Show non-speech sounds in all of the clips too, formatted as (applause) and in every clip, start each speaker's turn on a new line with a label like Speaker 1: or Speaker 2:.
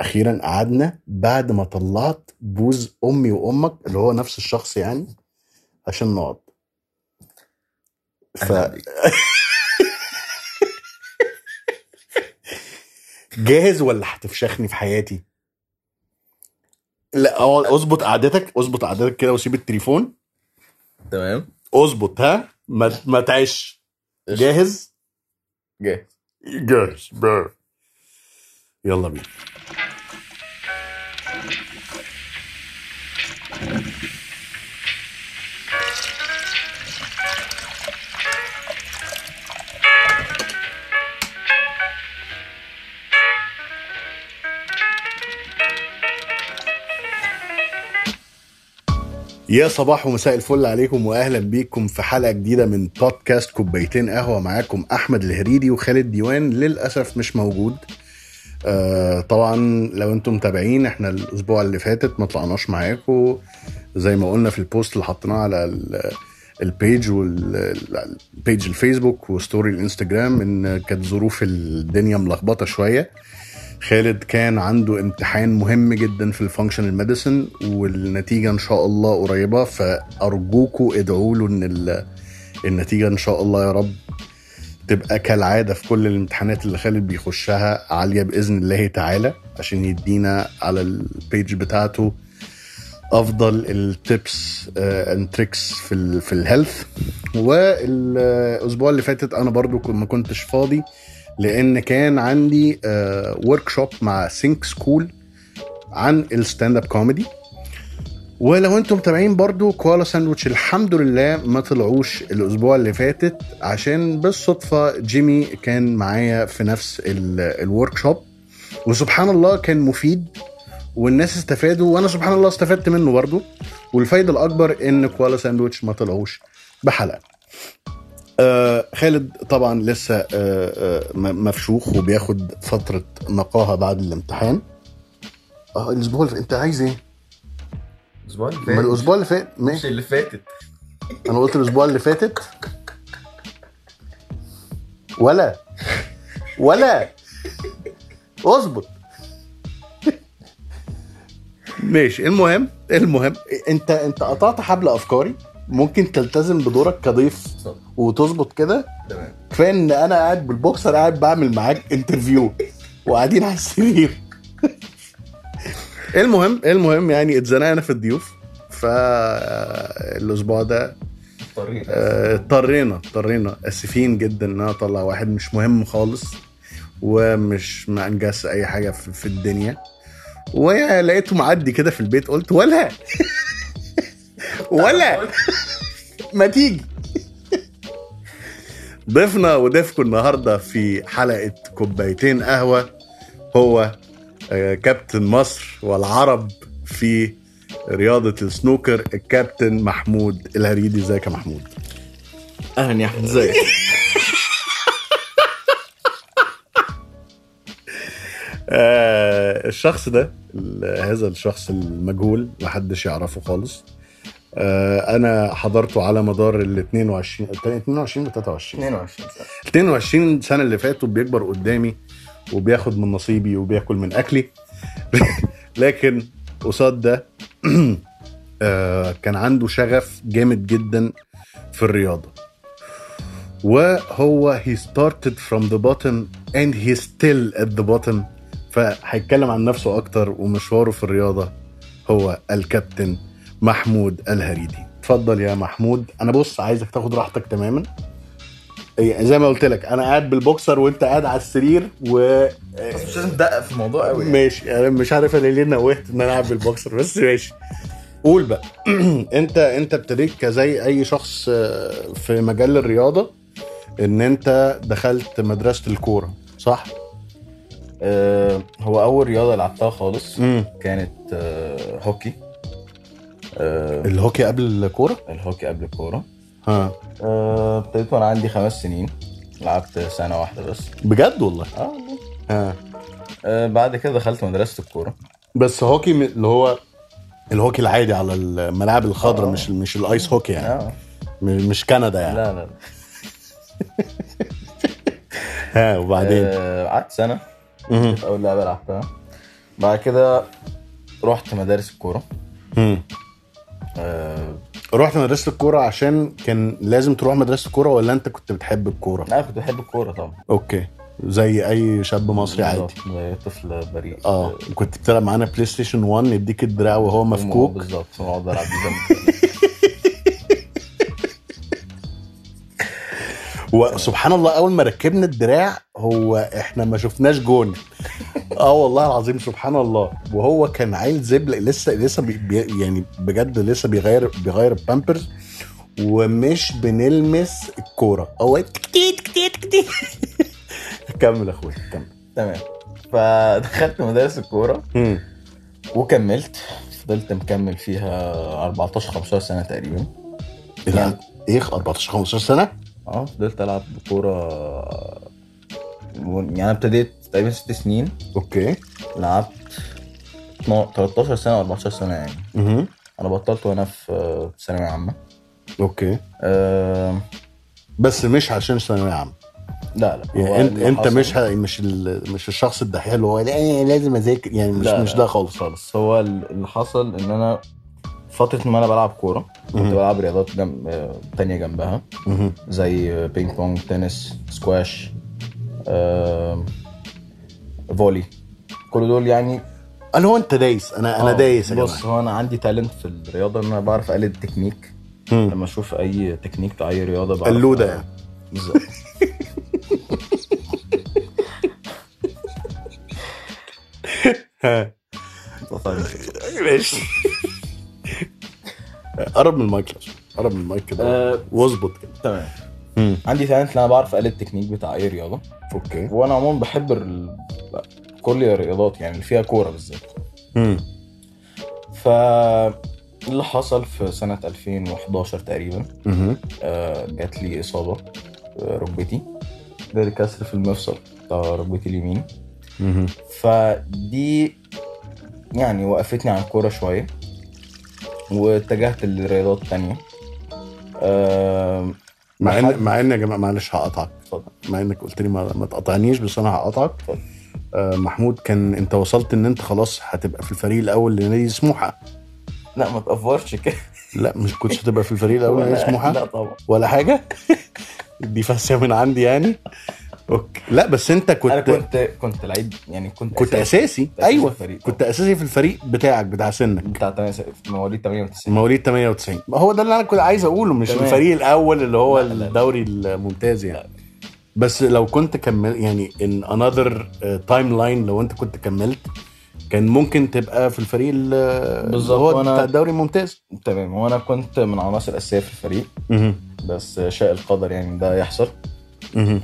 Speaker 1: اخيرا قعدنا بعد ما طلعت بوز امي وامك اللي هو نفس الشخص يعني عشان نقعد ف
Speaker 2: اهلا بيك
Speaker 1: جاهز ولا هتفشخني في حياتي لا أه، اظبط قعدتك اظبط قعدتك كده وسيب التليفون
Speaker 2: تمام
Speaker 1: اظبط ها ما ما تعيش
Speaker 2: قشطة.
Speaker 1: جاهز
Speaker 2: جاهز
Speaker 1: جاهز بقى. يلا بينا يا صباح ومساء الفل عليكم واهلا بيكم في حلقه جديده من بودكاست كوبايتين قهوه معاكم احمد الهريدي وخالد ديوان للاسف مش موجود آه طبعا لو انتم متابعين احنا الاسبوع اللي فاتت ما طلعناش معاكم زي ما قلنا في البوست اللي حطيناه على ال- البيج والبيج الفيسبوك وستوري الانستجرام ان كانت ظروف الدنيا ملخبطه شويه خالد كان عنده امتحان مهم جدا في الفانكشنال ميديسن والنتيجه ان شاء الله قريبه فارجوكوا ادعوا له ان ال- النتيجه ان شاء الله يا رب تبقى كالعاده في كل الامتحانات اللي خالد بيخشها عاليه باذن الله تعالى عشان يدينا على البيج بتاعته افضل التيبس اند تريكس آه، في ال في الهيلث والاسبوع اللي فاتت انا برضو كن- ما كنتش فاضي لان كان عندي ورك شوب مع سينك سكول عن الستاند اب كوميدي ولو انتم متابعين برضو كوالا ساندويتش الحمد لله ما طلعوش الاسبوع اللي فاتت عشان بالصدفه جيمي كان معايا في نفس الورك شوب وسبحان الله كان مفيد والناس استفادوا وانا سبحان الله استفدت منه برضو والفايده الاكبر ان كوالا ساندويتش ما طلعوش بحلقه آه خالد طبعا لسه آه آه م- مفشوخ وبياخد فتره نقاهه بعد الامتحان اه الاسبوع اللي فات- انت عايز ايه؟
Speaker 2: الاسبوع اللي فات
Speaker 1: ما الاسبوع اللي فات
Speaker 2: مش
Speaker 1: ماشي
Speaker 2: اللي فاتت
Speaker 1: انا قلت الاسبوع اللي فاتت ولا ولا اظبط ماشي المهم المهم انت انت قطعت حبل افكاري ممكن تلتزم بدورك كضيف
Speaker 2: اتفضل.
Speaker 1: وتظبط كده
Speaker 2: تمام
Speaker 1: كفايه ان انا قاعد بالبوكسر قاعد بعمل معاك انترفيو وقاعدين على السرير (laughs) المهم المهم يعني اتزنقنا في الضيوف فالاسبوع ده
Speaker 2: مضطرين
Speaker 1: آه، اضطرينا اضطرينا اسفين جدا ان انا اطلع واحد مش مهم خالص ومش ما انجزش اي حاجه في, في الدنيا ولقيته معدي كده في البيت قلت ولا (laughs) ولا ما تيجي ضيفنا وضيفكم النهارده في حلقه كوبايتين قهوه هو آه، كابتن مصر والعرب في رياضه السنوكر الكابتن محمود الهريدي ازيك يا محمود
Speaker 2: اهلا يا احمد ازيك
Speaker 1: آه الشخص ده ال- هذا الشخص المجهول محدش يعرفه خالص آه انا حضرته على مدار ال 22 تقريباً 22 و 23
Speaker 2: 22 سنه
Speaker 1: 22 سنه اللي فاتوا بيكبر قدامي وبياخد من نصيبي وبياكل من اكلي (laughs) لكن قصاد ده (clears throat) آه، كان عنده شغف جامد جدا في الرياضه وهو he started from the bottom and he's still at the bottom فهيتكلم عن نفسه اكتر ومشواره في الرياضه هو الكابتن محمود الهريدي اتفضل يا محمود انا بص عايزك تاخد راحتك تماما إيه، زي ما قلت لك انا قاعد بالبوكسر وانت قاعد على السرير و
Speaker 2: بس مش لازم تدقق في الموضوع قوي يعني.
Speaker 1: ماشي انا مش عارف انا ليه نوهت ان انا العب بالبوكسر بس ماشي قول بقى (clears throat) انت انت ابتديت كزي اي شخص آه، في مجال الرياضه ان انت دخلت مدرسه الكوره صح؟
Speaker 2: آه، هو اول رياضه لعبتها خالص
Speaker 1: امم
Speaker 2: كانت آه، هوكي آه،
Speaker 1: الهوكي قبل الكوره؟
Speaker 2: الهوكي قبل الكوره
Speaker 1: ها
Speaker 2: آه، ابتديت وانا عندي خمس سنين لعبت سنه واحده بس
Speaker 1: بجد والله
Speaker 2: اه والله.
Speaker 1: ها
Speaker 2: آه، بعد كده دخلت مدرسه الكوره
Speaker 1: بس هوكي م- اللي هو الهوكي العادي على الملاعب الخضراء
Speaker 2: آه.
Speaker 1: مش مش الايس هوكي يعني
Speaker 2: آه.
Speaker 1: م- مش كندا يعني
Speaker 2: لا لا لا.
Speaker 1: ها وبعدين
Speaker 2: آه، قعدت سنه
Speaker 1: مم.
Speaker 2: كانت اول لعبه لعبتها بعد كده رحت مدارس الكوره
Speaker 1: مم.
Speaker 2: آه،
Speaker 1: رحت مدرسه الكوره عشان كان لازم تروح مدرسه الكوره ولا انت كنت بتحب الكوره
Speaker 2: لا كنت بحب الكوره طبعا
Speaker 1: اوكي زي اي شاب مصري عادي
Speaker 2: بالظبط، زي طفل بريء
Speaker 1: اه كنت بتلعب معانا بلاي ستيشن 1 يديك الدراع وهو مفكوك
Speaker 2: بالظبط واقعد العب بيه زي ما-
Speaker 1: وسبحان الله اول ما ركبنا الدراع هو احنا ما شفناش جون اه والله العظيم سبحان الله وهو كان عيل زبل لسه لسه بي بي- يعني بجد لسه بيغير بيغير البامبرز ومش بنلمس الكوره هو كتيت كتيت كتيت (laughs) كمل يا اخويا كمل
Speaker 2: (laughs) تمام فدخلت مدارس الكوره
Speaker 1: مم.
Speaker 2: وكملت فضلت مكمل فيها 14 15 سنه تقريبا
Speaker 1: إيه ده؟ ايه 14 15 سنه
Speaker 2: اه فضلت العب كوره يعني انا ابتديت تقريبا ست سنين
Speaker 1: اوكي
Speaker 2: لعبت 12 13 سنه و 14 سنه يعني
Speaker 1: مهم.
Speaker 2: انا بطلت وانا في آه، في ثانويه عامه
Speaker 1: اوكي
Speaker 2: أه
Speaker 1: بس مش عشان ثانويه عامه
Speaker 2: لا لا هو
Speaker 1: يعني انت
Speaker 2: اللي
Speaker 1: انت
Speaker 2: حصل-
Speaker 1: مش ه... مش ال... مش الشخص الدحيح اللي هو لا، لازم اذاكر يعني مش
Speaker 2: لا،
Speaker 1: مش
Speaker 2: لا.
Speaker 1: ده خالص
Speaker 2: خالص هو اللي حصل ان انا فتره ما انا بلعب كوره كنت
Speaker 1: مهم.
Speaker 2: بلعب رياضات جنب آه، تانية جنبها
Speaker 1: مهم.
Speaker 2: زي بينج بونج تنس سكواش آه، فولي كل دول يعني
Speaker 1: اللي هو انت دايس انا انا
Speaker 2: آه،
Speaker 1: دايس يا
Speaker 2: بص
Speaker 1: جماعه
Speaker 2: هو انا عندي تالنت في الرياضه ان انا بعرف اقلد تكنيك
Speaker 1: مم.
Speaker 2: لما اشوف اي تكنيك في اي رياضه بعرف
Speaker 1: قلوده يعني
Speaker 2: بالظبط
Speaker 1: ها.
Speaker 2: طيب.
Speaker 1: ماشي (laughs) قرب من المايك لو سمحت. قرب من المايك كده
Speaker 2: آه،
Speaker 1: واظبط كده
Speaker 2: تمام عندي تالنت ان انا بعرف اقلد التكنيك بتاع اي رياضه
Speaker 1: اوكي
Speaker 2: وانا عموما بحب ال... كل الرياضات يعني اللي فيها كوره بالذات
Speaker 1: مم.
Speaker 2: ف اللي حصل في سنة 2011 تقريبا
Speaker 1: مهم.
Speaker 2: آه، جات لي إصابة آه، ركبتي جالي كسر في المفصل بتاع ركبتي اليمين
Speaker 1: مهم.
Speaker 2: فدي يعني وقفتني عن الكورة شوية واتجهت آه، للرياضات التانية آم،
Speaker 1: مع
Speaker 2: لحد-
Speaker 1: ان مع ان يا جماعه معلش هقطعك
Speaker 2: اتفضل
Speaker 1: مع انك قلت لي ما, ما تقطعنيش بس انا هقطعك
Speaker 2: اتفضل.
Speaker 1: آه محمود كان انت وصلت ان انت خلاص هتبقى في الفريق الاول لنادي سموحه
Speaker 2: لا ما تقفرش كده
Speaker 1: لا مش كنتش هتبقى في الفريق الاول لنادي سموحه
Speaker 2: (laughs) لا طبعا
Speaker 1: ولا حاجه (laughs) دي فاسيه من عندي يعني اوكي لا بس انت كنت
Speaker 2: انا كنت كنت لعيب يعني كنت
Speaker 1: كنت اساسي
Speaker 2: أساسي
Speaker 1: ايوه
Speaker 2: في الفريق.
Speaker 1: كنت اساسي في الفريق بتاعك بتاع سنك
Speaker 2: بتاع 8 مواليد 98
Speaker 1: مواليد 98 ما هو ده اللي انا كنت عايز اقوله مش
Speaker 2: تمام.
Speaker 1: الفريق الاول اللي هو
Speaker 2: لا، لا، لا.
Speaker 1: الدوري الممتاز يعني بس لو كنت كمل يعني ان انذر تايم لاين لو انت كنت كملت كان ممكن تبقى في الفريق ال- اللي
Speaker 2: بالظبط،
Speaker 1: هو
Speaker 2: وأنا-
Speaker 1: بتاع الدوري الممتاز
Speaker 2: تمام وانا كنت من العناصر الاساسيه في الفريق
Speaker 1: مهم.
Speaker 2: بس شاء القدر يعني ده يحصل
Speaker 1: مهم.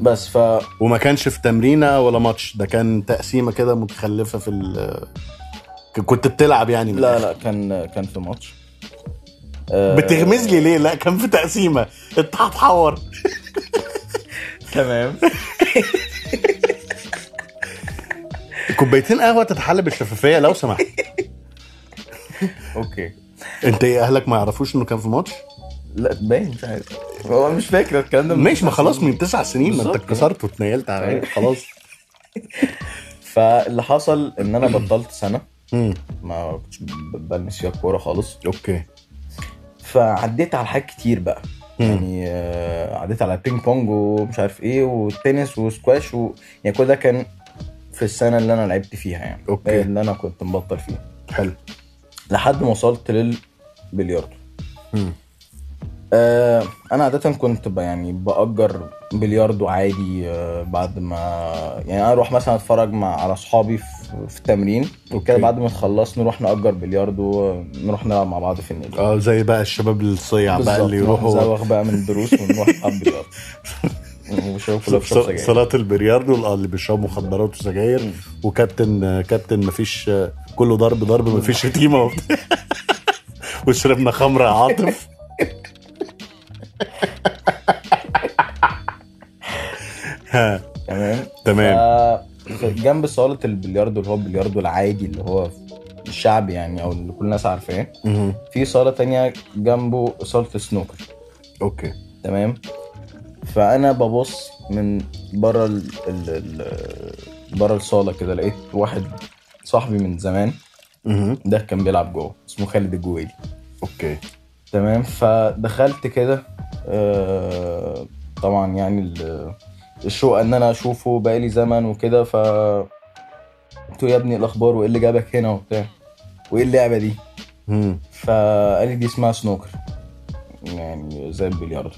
Speaker 2: بس ف
Speaker 1: وما كانش في تمرينه ولا ماتش ده كان تقسيمه كده متخلفه في ال- ك- كنت بتلعب يعني من
Speaker 2: لا
Speaker 1: الآخر.
Speaker 2: لا كان كان في ماتش
Speaker 1: بتغمز لي ليه لا كان في تقسيمه انت هتحور
Speaker 2: (laughs) تمام
Speaker 1: كوبايتين قهوه تتحل بالشفافيه لو سمحت
Speaker 2: اوكي
Speaker 1: انت ايه اهلك ما يعرفوش انه كان في ماتش
Speaker 2: لا باين مش عارف هو مش فاكر الكلام ده
Speaker 1: ماشي ما خلاص من تسع سنين ما انت
Speaker 2: بالظبط.
Speaker 1: اتكسرت واتنيلت عليا
Speaker 2: أيوة. (laughs)
Speaker 1: خلاص
Speaker 2: فاللي حصل ان انا بطلت سنه
Speaker 1: امم
Speaker 2: ما كنتش ب- بلمس فيها الكوره خالص
Speaker 1: اوكي
Speaker 2: فعديت على حاجات كتير بقى
Speaker 1: مم.
Speaker 2: يعني آه، عديت على بينج بونج ومش عارف ايه والتنس وسكواش و... يعني كل ده كان في السنه اللي انا لعبت فيها يعني
Speaker 1: أوكي.
Speaker 2: اللي انا كنت مبطل فيها
Speaker 1: حلو
Speaker 2: لحد ما وصلت للبلياردو
Speaker 1: مم.
Speaker 2: آه انا عاده كنت ب... يعني باجر بلياردو عادي آه بعد ما يعني انا اروح مثلا اتفرج مع على اصحابي في, في التمرين وكده
Speaker 1: أوكي.
Speaker 2: بعد ما نخلص نروح نأجر بلياردو آه، نروح نلعب مع بعض في النادي
Speaker 1: اه زي بقى الشباب الصيع بقى
Speaker 2: بالظبط،
Speaker 1: اللي
Speaker 2: نروح
Speaker 1: يروحوا
Speaker 2: نزوغ بقى من الدروس ونروح
Speaker 1: (laughs)
Speaker 2: نلعب بلياردو وشباب كلها
Speaker 1: ص-
Speaker 2: بتشرب
Speaker 1: ص-
Speaker 2: سجاير
Speaker 1: صلاة البلياردو اه، اللي بيشربوا مخدرات وسجاير
Speaker 2: مم.
Speaker 1: وكابتن آه، كابتن مفيش آه، كله ضرب ضرب مفيش شتيمه وبتاع. (laughs) وشربنا خمره يا عاطف (laughs) ها
Speaker 2: تمام
Speaker 1: تمام
Speaker 2: ف- جنب صاله البلياردو اللي هو البلياردو العادي اللي هو الشعبي يعني او اللي كل الناس عارفاه
Speaker 1: مهم.
Speaker 2: في صاله تانية جنبه صاله السنوكر
Speaker 1: اوكي
Speaker 2: تمام فانا ببص من بره ال... ال... ال... بره الصاله كده لقيت واحد صاحبي من زمان
Speaker 1: مهم.
Speaker 2: ده كان بيلعب جوه اسمه خالد الجويلي
Speaker 1: اوكي
Speaker 2: تمام فدخلت كده آه، طبعا يعني ال- الشوق ان انا اشوفه بقالي زمن وكده ف قلت له يا ابني إيه الاخبار وايه اللي جابك هنا وبتاع وايه اللعبه دي
Speaker 1: مم.
Speaker 2: فقال لي دي اسمها سنوكر يعني زي البلياردو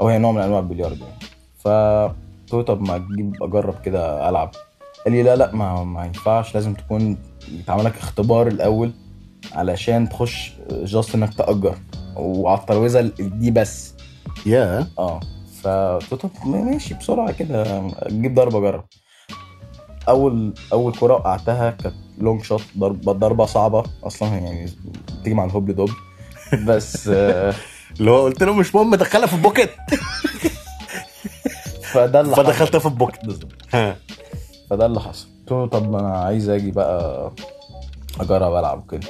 Speaker 2: او هي نوع من انواع البلياردو يعني فقلت له طب ما تجيب اجرب كده العب قال لي لا لا ما, ما ينفعش لازم تكون يتعمل لك اختبار الاول علشان تخش جاست انك تأجر وعلى الترويزه دي بس
Speaker 1: يا
Speaker 2: اه فقلت له طب ماشي بسرعه كده جيب ضربه اجرب اول اول كره وقعتها كانت لونج شوت ضربه ضربه صعبه اصلا يعني بتيجي مع الهوب دوب بس (laughs) آه،
Speaker 1: اللي هو قلت له مش مهم دخلها في البوكت
Speaker 2: فده اللي
Speaker 1: (laughs)
Speaker 2: حصل
Speaker 1: فدخلتها في البوكت ها.
Speaker 2: فده اللي حصل قلت له طب انا عايز اجي بقى اجرب العب كده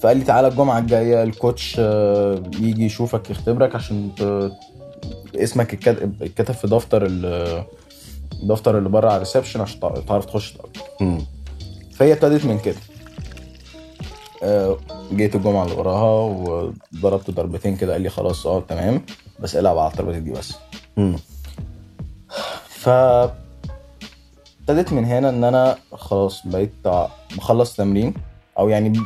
Speaker 2: فقال لي تعالى الجمعه الجايه الكوتش آه، يجي يشوفك يختبرك عشان ت- اسمك يتكت- يتكتب في دفتر ال- الدفتر اللي بره على الريسبشن عشان تع- تعرف تخش تأجر.
Speaker 1: مم.
Speaker 2: فهي ابتدت من كده آه، جيت الجمعه اللي وراها وضربت ضربتين كده قال لي خلاص اه تمام بس العب على الضربتين دي بس
Speaker 1: مم.
Speaker 2: ف ابتدت من هنا ان انا خلاص بقيت ع- بخلص تمرين او يعني ب-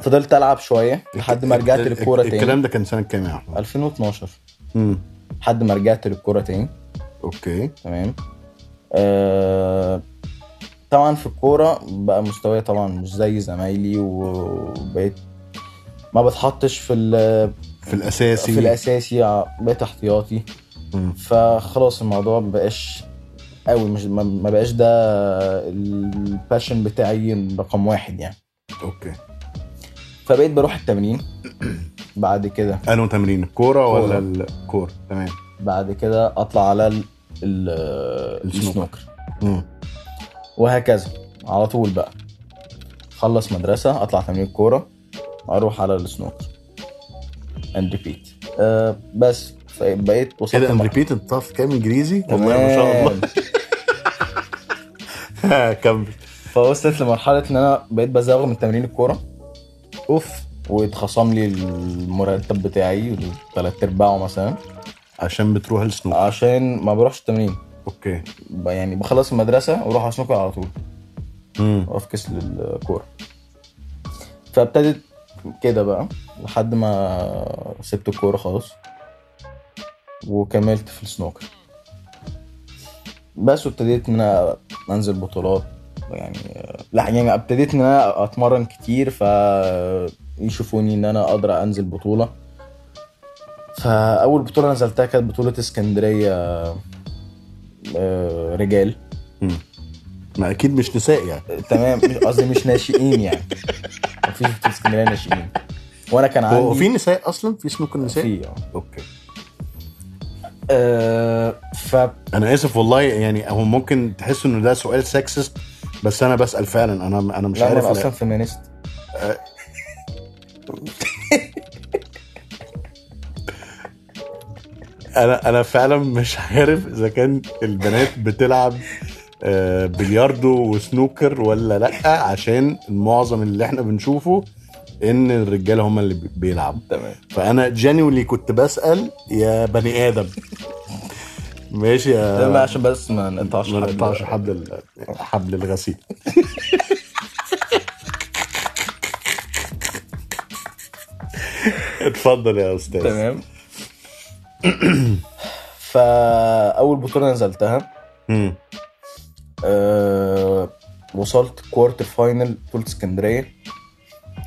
Speaker 2: فضلت العب شويه لحد ما
Speaker 1: (laughs)
Speaker 2: رجعت
Speaker 1: ال-
Speaker 2: للكوره تاني
Speaker 1: الكلام ده كان سنه كام يا احمد؟
Speaker 2: 2012
Speaker 1: مم.
Speaker 2: لحد ما رجعت للكوره تاني
Speaker 1: اوكي
Speaker 2: تمام آه طبعا في الكوره بقى مستواي طبعا مش زي زمايلي وبقيت ما بتحطش في ال-
Speaker 1: في الاساسي
Speaker 2: في الاساسي ع- بقيت احتياطي
Speaker 1: مم.
Speaker 2: فخلاص الموضوع ما بقاش قوي مش ما- ما بقاش ده الباشن بتاعي رقم واحد يعني
Speaker 1: اوكي
Speaker 2: فبقيت بروح التمرين بعد كده
Speaker 1: انو تمرين الكوره ولا
Speaker 2: كورة.
Speaker 1: الكوره تمام
Speaker 2: بعد كده اطلع على ال- ال-
Speaker 1: السنوكر.
Speaker 2: السنوكر
Speaker 1: مم.
Speaker 2: وهكذا على طول بقى خلص مدرسة أطلع تمرين كورة أروح على السنوكر اند ريبيت أه بس بقيت وصلت
Speaker 1: ايه ده اند
Speaker 2: مرحلة-
Speaker 1: ريبيت بتعرف كام انجليزي؟ والله ما شاء الله
Speaker 2: تمام.
Speaker 1: (laughs) ها، كمل
Speaker 2: فوصلت لمرحلة إن أنا بقيت بزوغ من تمرين الكورة أوف واتخصم لي المرتب بتاعي تلات أرباعه مثلا
Speaker 1: عشان بتروح السنوك
Speaker 2: عشان ما بروحش التمرين
Speaker 1: اوكي
Speaker 2: ب- يعني بخلص المدرسة وأروح على السنوكر على طول
Speaker 1: مم.
Speaker 2: وافكس للكوره فابتدت كده بقى لحد ما سبت الكوره خالص وكملت في السنوكر بس وابتديت ان انا انزل بطولات يعني لا يعني ابتديت ان انا اتمرن كتير ف يشوفوني ان انا اقدر انزل بطوله فاول بطوله نزلتها كانت بطوله اسكندريه آه، رجال
Speaker 1: مم. ما اكيد مش نساء يعني
Speaker 2: تمام مش- قصدي مش ناشئين يعني مفيش في اسكندريه ناشئين وانا كان عندي
Speaker 1: هو في نساء اصلا في سنوكر نساء
Speaker 2: في آه.
Speaker 1: اوكي
Speaker 2: آه ف
Speaker 1: انا اسف والله يعني هو ممكن تحس انه ده سؤال سكسست بس انا بسال فعلا انا انا مش
Speaker 2: لا
Speaker 1: عارف
Speaker 2: انا
Speaker 1: لا.
Speaker 2: اصلا فيمينيست
Speaker 1: انا انا فعلا مش (laughs) عارف اذا كان البنات بتلعب آه، بلياردو وسنوكر ولا لا عشان معظم اللي احنا بنشوفه ان الرجاله هم اللي بي- بيلعبوا
Speaker 2: تمام
Speaker 1: فانا جينيولي كنت بسال يا بني ادم ماشي يا
Speaker 2: تمام عشان بس ما نقطعش
Speaker 1: آه. ما
Speaker 2: حد.
Speaker 1: نقطعش حبل ال- حبل الغسيل (laughs) اتفضل يا استاذ
Speaker 2: تمام (clears throat) فاول بطوله نزلتها
Speaker 1: مم.
Speaker 2: آه وصلت كوارتر فاينل بطوله اسكندريه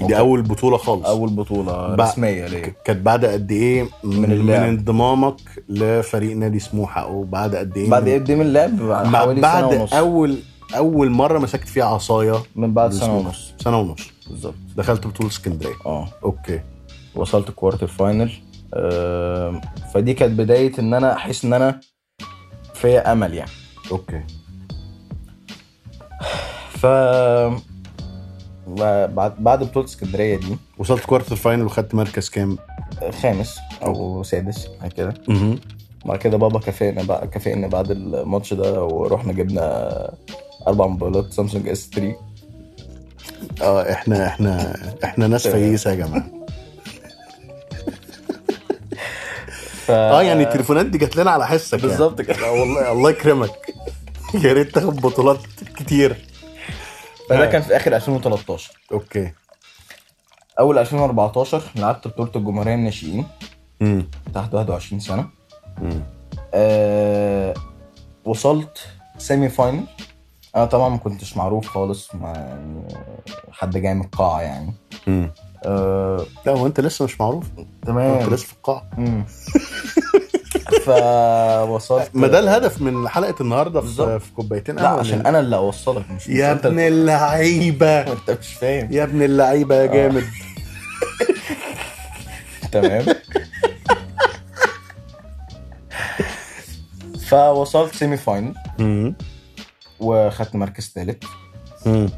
Speaker 1: دي اول بطوله خالص
Speaker 2: اول بطوله
Speaker 1: بع-
Speaker 2: رسميه ليا
Speaker 1: كانت بعد قد ايه من,
Speaker 2: من
Speaker 1: من
Speaker 2: اللعب.
Speaker 1: انضمامك لفريق نادي سموحه او بعد قد ايه
Speaker 2: بعد
Speaker 1: من-
Speaker 2: ابدا من اللعب
Speaker 1: ب-
Speaker 2: حوالي سنه
Speaker 1: بعد
Speaker 2: ونص
Speaker 1: اول اول مره مسكت فيها عصايه
Speaker 2: من بعد سنه
Speaker 1: بالسموحة.
Speaker 2: ونص
Speaker 1: سنه ونص
Speaker 2: بالظبط
Speaker 1: دخلت بطوله اسكندريه
Speaker 2: اه
Speaker 1: اوكي
Speaker 2: وصلت الكوارتر فاينل آم، فدي كانت بدايه ان انا احس ان انا فيا امل يعني
Speaker 1: اوكي
Speaker 2: ف بعد بعد بطوله اسكندريه دي
Speaker 1: وصلت كوارتر فاينل وخدت مركز كام؟
Speaker 2: خامس او سادس حاجه كده
Speaker 1: مهم.
Speaker 2: بعد كده بابا كافئنا بقى كافئنا بعد الماتش ده ورحنا جبنا اربع موبايلات سامسونج اس 3
Speaker 1: اه احنا احنا احنا ناس فييسه يا جماعه
Speaker 2: (laughs) ف...
Speaker 1: اه يعني التليفونات دي جات لنا على حسك يعني.
Speaker 2: بالظبط كده.
Speaker 1: لا والله الله يكرمك يا ريت تاخد بطولات كتير
Speaker 2: فده كان في اخر 2013
Speaker 1: اوكي
Speaker 2: اول 2014 لعبت بطوله الجمهوريه الناشئين
Speaker 1: امم
Speaker 2: تحت 21 سنه
Speaker 1: امم
Speaker 2: آه وصلت سيمي فاينل انا طبعا ما كنتش معروف خالص ما يعني حد جاي من القاعه يعني (laughs)
Speaker 1: امم
Speaker 2: آه
Speaker 1: لا هو انت لسه مش معروف انت
Speaker 2: تمام
Speaker 1: لسه في القاعه
Speaker 2: مم. فوصلت
Speaker 1: (laughs) ما ده الهدف من حلقه النهارده في,
Speaker 2: بالظبط.
Speaker 1: في كوبايتين
Speaker 2: لا
Speaker 1: قهوة.
Speaker 2: عشان انا اللي اوصلك مش مش
Speaker 1: يا
Speaker 2: انت
Speaker 1: ابن
Speaker 2: (laughs)
Speaker 1: اللعيبه
Speaker 2: انت مش فاهم
Speaker 1: يا ابن اللعيبه
Speaker 2: آه.
Speaker 1: يا جامد
Speaker 2: تمام فوصلت سيمي فاينل
Speaker 1: امم
Speaker 2: وخدت مركز ثالث
Speaker 1: امم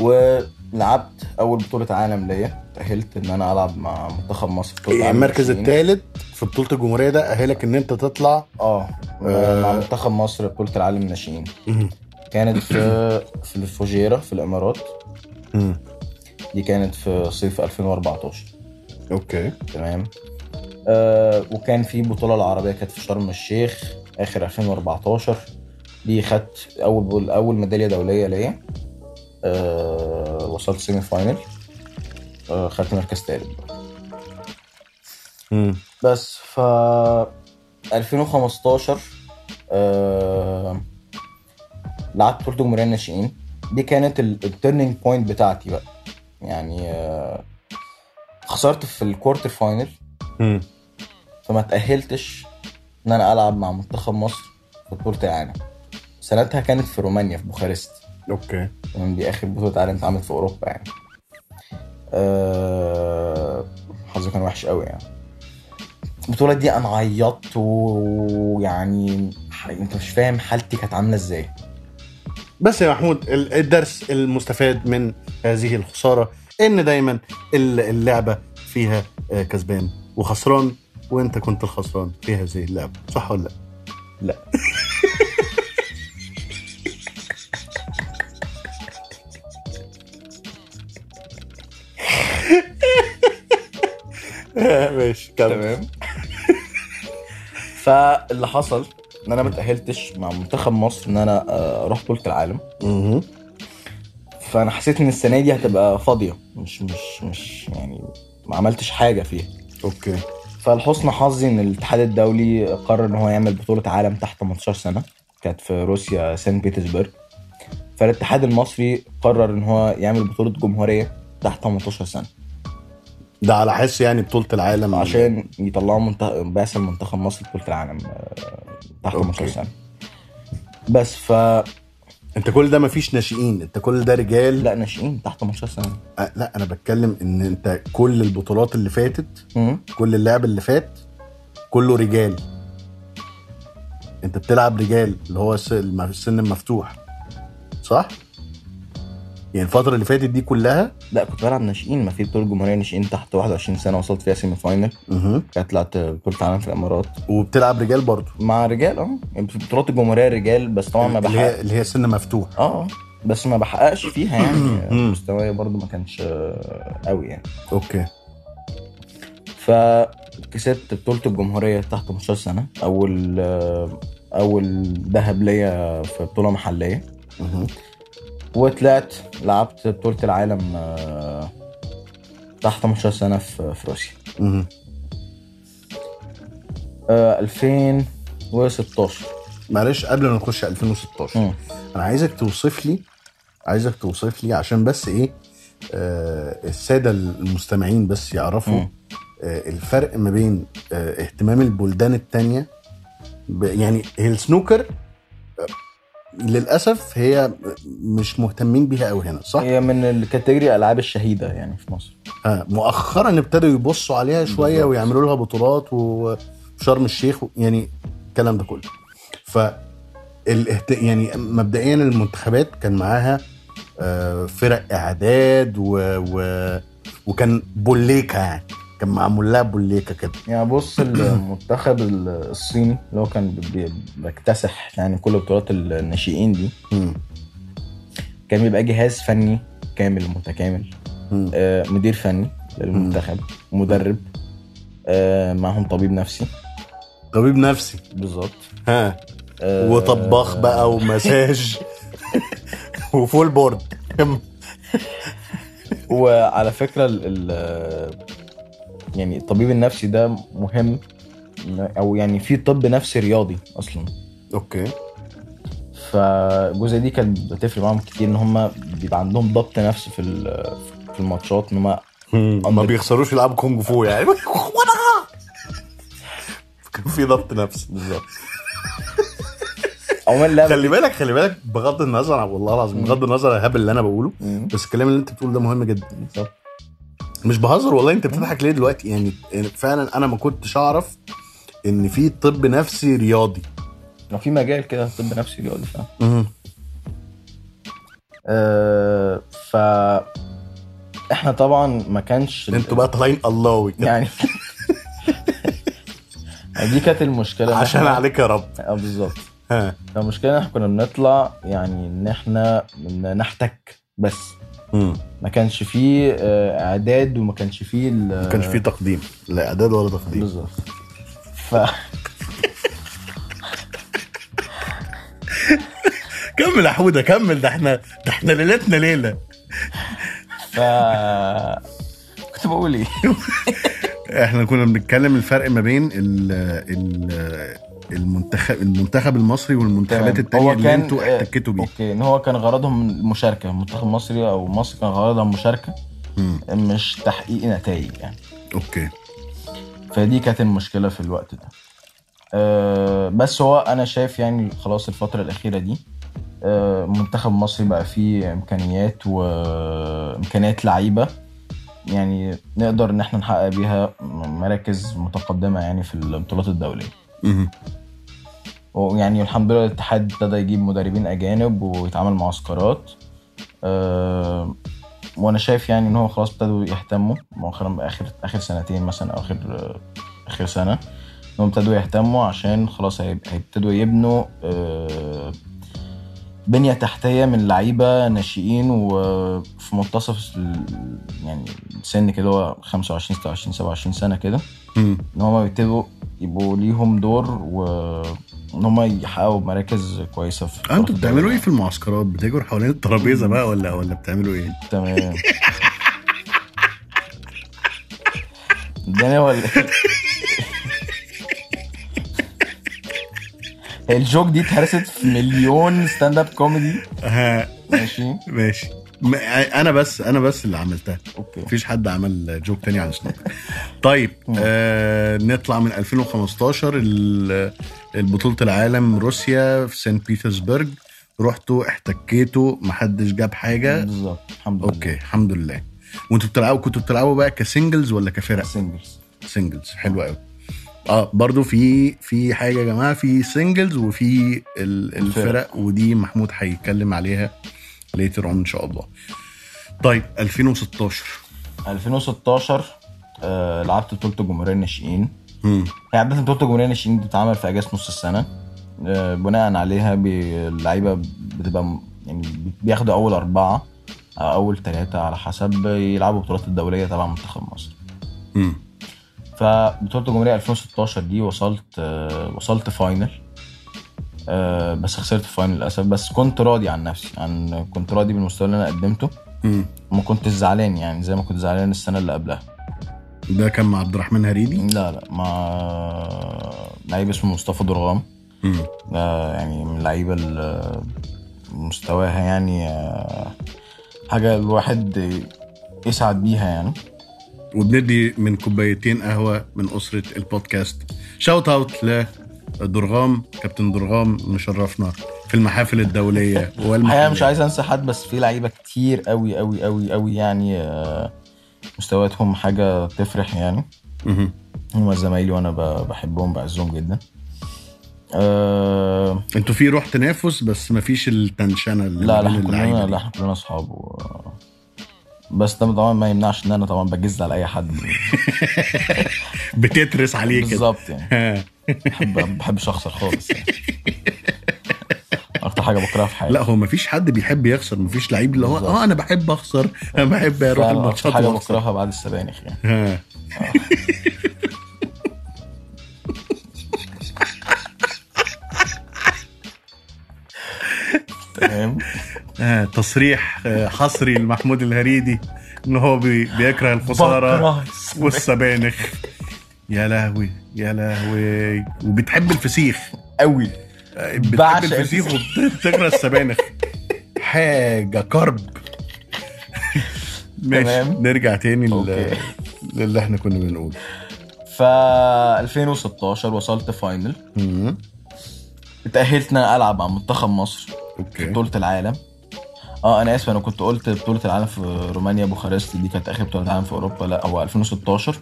Speaker 2: ولعبت اول بطوله عالم ليا تاهلت ان انا العب مع منتخب مصر في بطولة
Speaker 1: يعني
Speaker 2: عالم
Speaker 1: المركز
Speaker 2: 20.
Speaker 1: الثالث في بطوله الجمهوريه ده اهلك ان انت تطلع
Speaker 2: اه
Speaker 1: آه.
Speaker 2: مع منتخب مصر بطوله العالم الناشئين كانت في في الفجيره في الامارات
Speaker 1: امم
Speaker 2: دي كانت في صيف 2014
Speaker 1: اوكي
Speaker 2: تمام آه وكان في بطولة العربية كانت في شرم الشيخ آخر 2014 دي خدت أول أول ميدالية دولية ليا آه وصلت سيمي فاينل آه خدت مركز تالت
Speaker 1: امم
Speaker 2: بس ف 2015 آه لعبت بطولة جمهورية الناشئين دي كانت التيرنينج بوينت بتاعتي بقى يعني آه خسرت في الكوارتر فاينل
Speaker 1: امم
Speaker 2: فما تأهلتش إن أنا ألعب مع منتخب مصر في بطولة العالم سنتها كانت في رومانيا في بوخارست
Speaker 1: اوكي
Speaker 2: تمام دي آخر بطولة عالم اتعملت في أوروبا يعني أه... حظي كان وحش قوي يعني البطولة دي أنا عيطت و- ويعني ح- أنت مش فاهم حالتي كانت عاملة إزاي
Speaker 1: بس يا محمود ال- الدرس المستفاد من هذه الخسارة إن دايما ال- اللعبة فيها آه، كسبان وخسران وأنت كنت الخسران في هذه اللعبة صح ولا لا؟
Speaker 2: لا
Speaker 1: آه، (laughs) ماشي كمل
Speaker 2: تمام (laughs) فاللي حصل ان انا ما تاهلتش مع منتخب مصر ان انا آه، اروح بطوله العالم
Speaker 1: مهم.
Speaker 2: فانا حسيت ان السنه دي هتبقى فاضيه مش مش مش يعني ما عملتش حاجه فيها
Speaker 1: أوكي
Speaker 2: فالحسن حظي ان الاتحاد الدولي قرر ان هو يعمل بطوله عالم تحت 18 سنه كانت في روسيا سان بيترسبرج فالاتحاد المصري قرر ان هو يعمل بطوله جمهوريه تحت 18 سنه
Speaker 1: ده على حس يعني بطولة العالم
Speaker 2: عشان يطلعوا منتخ... بعثه منتخب مصر بطوله العالم آه، تحت
Speaker 1: أوكي.
Speaker 2: 18 سنه بس ف
Speaker 1: أنت كل ده مفيش ناشئين أنت كل ده رجال
Speaker 2: لا ناشئين تحت 18 سنه
Speaker 1: آه، لا أنا بتكلم إن أنت كل البطولات اللي فاتت
Speaker 2: مم.
Speaker 1: كل اللعب اللي فات كله رجال أنت بتلعب رجال اللي هو الس- الم- السن المفتوح صح؟ يعني الفترة اللي فاتت دي كلها
Speaker 2: لا كنت بلعب ناشئين ما في بطوله جمهوريه ناشئين تحت 21 سنه وصلت فيها سيمي فاينل
Speaker 1: مهم.
Speaker 2: كانت طلعت بطوله العالم في الامارات
Speaker 1: وبتلعب رجال برضه
Speaker 2: مع رجال اه يعني بطولات الجمهوريه رجال بس طبعا ما
Speaker 1: اللي
Speaker 2: بحقق
Speaker 1: هي اللي هي سن مفتوح
Speaker 2: اه بس ما بحققش فيها يعني
Speaker 1: (clears throat) مم.
Speaker 2: مستواي برضو ما كانش آه، قوي يعني
Speaker 1: اوكي
Speaker 2: فكسبت بطوله الجمهوريه تحت 18 سنه اول آه، اول ذهب ليا في بطوله محليه
Speaker 1: مهم.
Speaker 2: وطلعت لعبت بطوله العالم آه، تحت 18 سنه في في روسيا
Speaker 1: مهم.
Speaker 2: آه، 2016
Speaker 1: معلش قبل ما نخش 2016
Speaker 2: مم.
Speaker 1: انا عايزك توصف لي عايزك توصف لي عشان بس ايه آه الساده المستمعين بس يعرفوا
Speaker 2: مم.
Speaker 1: آه الفرق ما بين آه اهتمام البلدان التانية ب- يعني هي السنوكر آه، للاسف هي مش مهتمين بيها قوي هنا صح؟
Speaker 2: هي من الكاتيجوري الالعاب الشهيده يعني في مصر
Speaker 1: ها مؤخرا آه، ابتدوا يبصوا عليها شويه
Speaker 2: بالظبط.
Speaker 1: ويعملوا لها بطولات وشرم الشيخ و- يعني الكلام ده كله ف الاهت... يعني مبدئيا المنتخبات كان معاها آه، فرق اعداد و... و... وكان بوليكا يعني كان معمول لها بوليكا كده
Speaker 2: يعني بص المنتخب ال- الصيني اللي هو كان بي- بيكتسح يعني كل بطولات الناشئين دي
Speaker 1: مم.
Speaker 2: كان بيبقى جهاز فني كامل متكامل
Speaker 1: مم.
Speaker 2: آه، مدير فني للمنتخب مدرب آه، معاهم طبيب نفسي
Speaker 1: طبيب نفسي
Speaker 2: بالظبط
Speaker 1: ها
Speaker 2: آه،
Speaker 1: وطباخ بقى
Speaker 2: (laughs)
Speaker 1: ومساج وفول بورد (laughs)
Speaker 2: وعلى فكره ال ال- يعني الطبيب النفسي ده مهم او يعني في طب نفسي رياضي اصلا
Speaker 1: اوكي
Speaker 2: فالجزء دي كانت بتفرق معاهم كتير ان هم بيبقى عندهم ضبط نفسي في ال- في الماتشات ان هم
Speaker 1: ما بيخسروش يلعبوا كونج فو يعني (laughs) كان في ضبط نفسي
Speaker 2: بالظبط عموما اللعبه
Speaker 1: خلي بالك خلي بالك بغض النظر عن- والله العظيم بغض النظر عن الهبل اللي انا بقوله
Speaker 2: مم.
Speaker 1: بس الكلام اللي انت بتقوله ده مهم جدا
Speaker 2: بالظبط
Speaker 1: مش بهزر والله انت بتضحك ليه دلوقتي يعني يعني فعلا انا ما كنتش اعرف ان في طب نفسي رياضي
Speaker 2: لو في مجال كده طب نفسي رياضي فاهم آه، ف احنا طبعا ما كانش ال-
Speaker 1: انتوا بقى طالعين اللهوي كده
Speaker 2: يعني (laughs) دي كانت المشكله إن
Speaker 1: (laughs) عشان
Speaker 2: إحنا-
Speaker 1: عليك يا رب
Speaker 2: اه بالظبط
Speaker 1: ها
Speaker 2: فالمشكله إن احنا كنا بنطلع يعني ان احنا بن- نحتك بس
Speaker 1: مم.
Speaker 2: ما كانش فيه آه، اعداد وما كانش فيه ال-
Speaker 1: ما كانش في تقديم لا اعداد ولا تقديم
Speaker 2: بالظبط ف
Speaker 1: كمل يا حوده كمل ده احنا ده احنا ليلتنا ليله
Speaker 2: ف كنت
Speaker 1: (laughs)
Speaker 2: بقول ايه
Speaker 1: احنا كنا بنتكلم الفرق ما بين ال ال المنتخب المنتخب المصري والمنتخبات
Speaker 2: تمام.
Speaker 1: التانية
Speaker 2: هو
Speaker 1: اللي
Speaker 2: كان- آه.
Speaker 1: انتوا احتكيتوا بيها
Speaker 2: اوكي ان هو كان غرضهم المشاركه منتخب مصري او مصر كان غرضهم مشاركه
Speaker 1: مم.
Speaker 2: مش تحقيق نتائج يعني
Speaker 1: اوكي
Speaker 2: فدي كانت المشكله في الوقت ده أه بس هو انا شايف يعني خلاص الفتره الاخيره دي أه منتخب مصر بقى فيه امكانيات وامكانيات لعيبه يعني نقدر ان احنا نحقق بيها مراكز متقدمه يعني في البطولات الدوليه
Speaker 1: مهم.
Speaker 2: ويعني الحمد لله الاتحاد ابتدى يجيب مدربين اجانب ويتعمل معسكرات أه وانا شايف يعني ان هو خلاص ابتدوا يهتموا مؤخرا باخر اخر سنتين مثلا او اخر اخر سنه انهم ابتدوا يهتموا عشان خلاص هيب- هيبتدوا يبنوا أه بنيه تحتيه من لعيبه ناشئين وفي منتصف ال- يعني السن كده هو 25 26 27 سنه كده
Speaker 1: مم.
Speaker 2: ان هم بيبتدوا يبقوا ليهم دور وان هم يحققوا مراكز كويسه في
Speaker 1: اه، انتوا بتعملوا ايه في المعسكرات بتجروا حوالين الترابيزه بقى ولا ولا بتعملوا ايه
Speaker 2: تمام الدنيا ولا إيه؟ (laughs) الجوك دي اتهرست في مليون ستاند اب كوميدي
Speaker 1: ها
Speaker 2: ماشي
Speaker 1: ماشي ما- انا بس انا بس اللي عملتها
Speaker 2: اوكي
Speaker 1: مفيش حد عمل جوك تاني عن سنوك طيب آه نطلع من 2015 ال- البطولة العالم روسيا في سان بيترسبرج رحتوا احتكيتوا محدش جاب حاجة
Speaker 2: بالظبط الحمد لله
Speaker 1: اوكي الحمد لله وانتوا بتلعبوا كنتوا بتلعبوا بقى كسنجلز ولا كفرق
Speaker 2: سنجلز
Speaker 1: سنجلز حلو قوي اه برضو في في حاجه يا جماعه في سنجلز وفي ال- الفرق
Speaker 2: الفرق.
Speaker 1: ودي محمود هيتكلم عليها ليتر اون ان شاء الله طيب 2016
Speaker 2: 2016 آه لعبت بطوله الجمهوريه الناشئين
Speaker 1: مم.
Speaker 2: هي يعني عادة بطولة الجمهورية الناشئين بتتعمل في أجازة نص السنة آه، بناء عليها بي- اللعيبة بتبقى م- يعني بياخدوا أول أربعة أو أول ثلاثة على حسب يلعبوا البطولات الدولية تبع منتخب مصر
Speaker 1: مم.
Speaker 2: فبطولة الجمهورية 2016 دي وصلت آه، وصلت فاينل آه، بس خسرت الفاينل للأسف بس كنت راضي عن نفسي عن كنت راضي بالمستوى اللي أنا قدمته
Speaker 1: مم.
Speaker 2: ما كنتش زعلان يعني زي ما كنت زعلان السنة اللي قبلها
Speaker 1: ده كان مع عبد الرحمن هريدي
Speaker 2: لا لا مع لعيب اسمه مصطفى درغام
Speaker 1: مم.
Speaker 2: آه، يعني من اللعيبه ال- مستواها يعني آه، حاجه الواحد يسعد بيها يعني
Speaker 1: وبندي من كوبايتين قهوه من اسره البودكاست شاوت اوت ل درغام كابتن درغام مشرفنا في المحافل الدوليه
Speaker 2: الحقيقه مش
Speaker 1: والمحلية.
Speaker 2: عايز انسى حد بس في لعيبه كتير قوي قوي قوي قوي يعني آه، مستوياتهم حاجه تفرح يعني
Speaker 1: مهم.
Speaker 2: هم زمايلي وانا ب- بحبهم بعزهم جدا أه
Speaker 1: انتوا في روح تنافس بس مفيش التنشنه اللي
Speaker 2: لا
Speaker 1: ما
Speaker 2: لا
Speaker 1: بين اللعيبة
Speaker 2: احنا كلنا
Speaker 1: دي.
Speaker 2: لا احنا كلنا اصحاب و... بس ده طبعا ما يمنعش ان انا طبعا بجز على اي حد
Speaker 1: بتترس عليه كده
Speaker 2: بالظبط يعني
Speaker 1: ها.
Speaker 2: بحب بحبش اخسر خالص يعني. اكتر حاجه حاجه بكرهها في حياتي
Speaker 1: لا هو مفيش حد بيحب يخسر مفيش لعيب اللي هو
Speaker 2: بالظبط.
Speaker 1: اه انا بحب اخسر انا بحب اروح
Speaker 2: فعلا أكتر
Speaker 1: الماتشات
Speaker 2: حاجه
Speaker 1: واخسر.
Speaker 2: بكرهها بعد السبانخ يعني
Speaker 1: ها.
Speaker 2: تمام
Speaker 1: ها. تصريح آه، حصري لمحمود الهريدي ان هو بي- بيكره الخساره
Speaker 2: بكره السبانخ.
Speaker 1: والسبانخ يا لهوي يا لهوي وبتحب الفسيخ
Speaker 2: قوي
Speaker 1: آه، بتحب
Speaker 2: بعشق
Speaker 1: الفسيخ وبتكره السبانخ حاجه
Speaker 2: (laughs)
Speaker 1: كرب ماشي
Speaker 2: تمام.
Speaker 1: نرجع تاني لل-
Speaker 2: أوكي.
Speaker 1: للي احنا كنا بنقوله
Speaker 2: ف 2016 وصلت فاينل
Speaker 1: مم.
Speaker 2: اتأهلت ان انا العب مع منتخب مصر في
Speaker 1: اوكي
Speaker 2: بطولة العالم اه انا اسف انا كنت قلت بطولة العالم في رومانيا بوخارست دي كانت اخر بطولة عالم في اوروبا لا هو 2016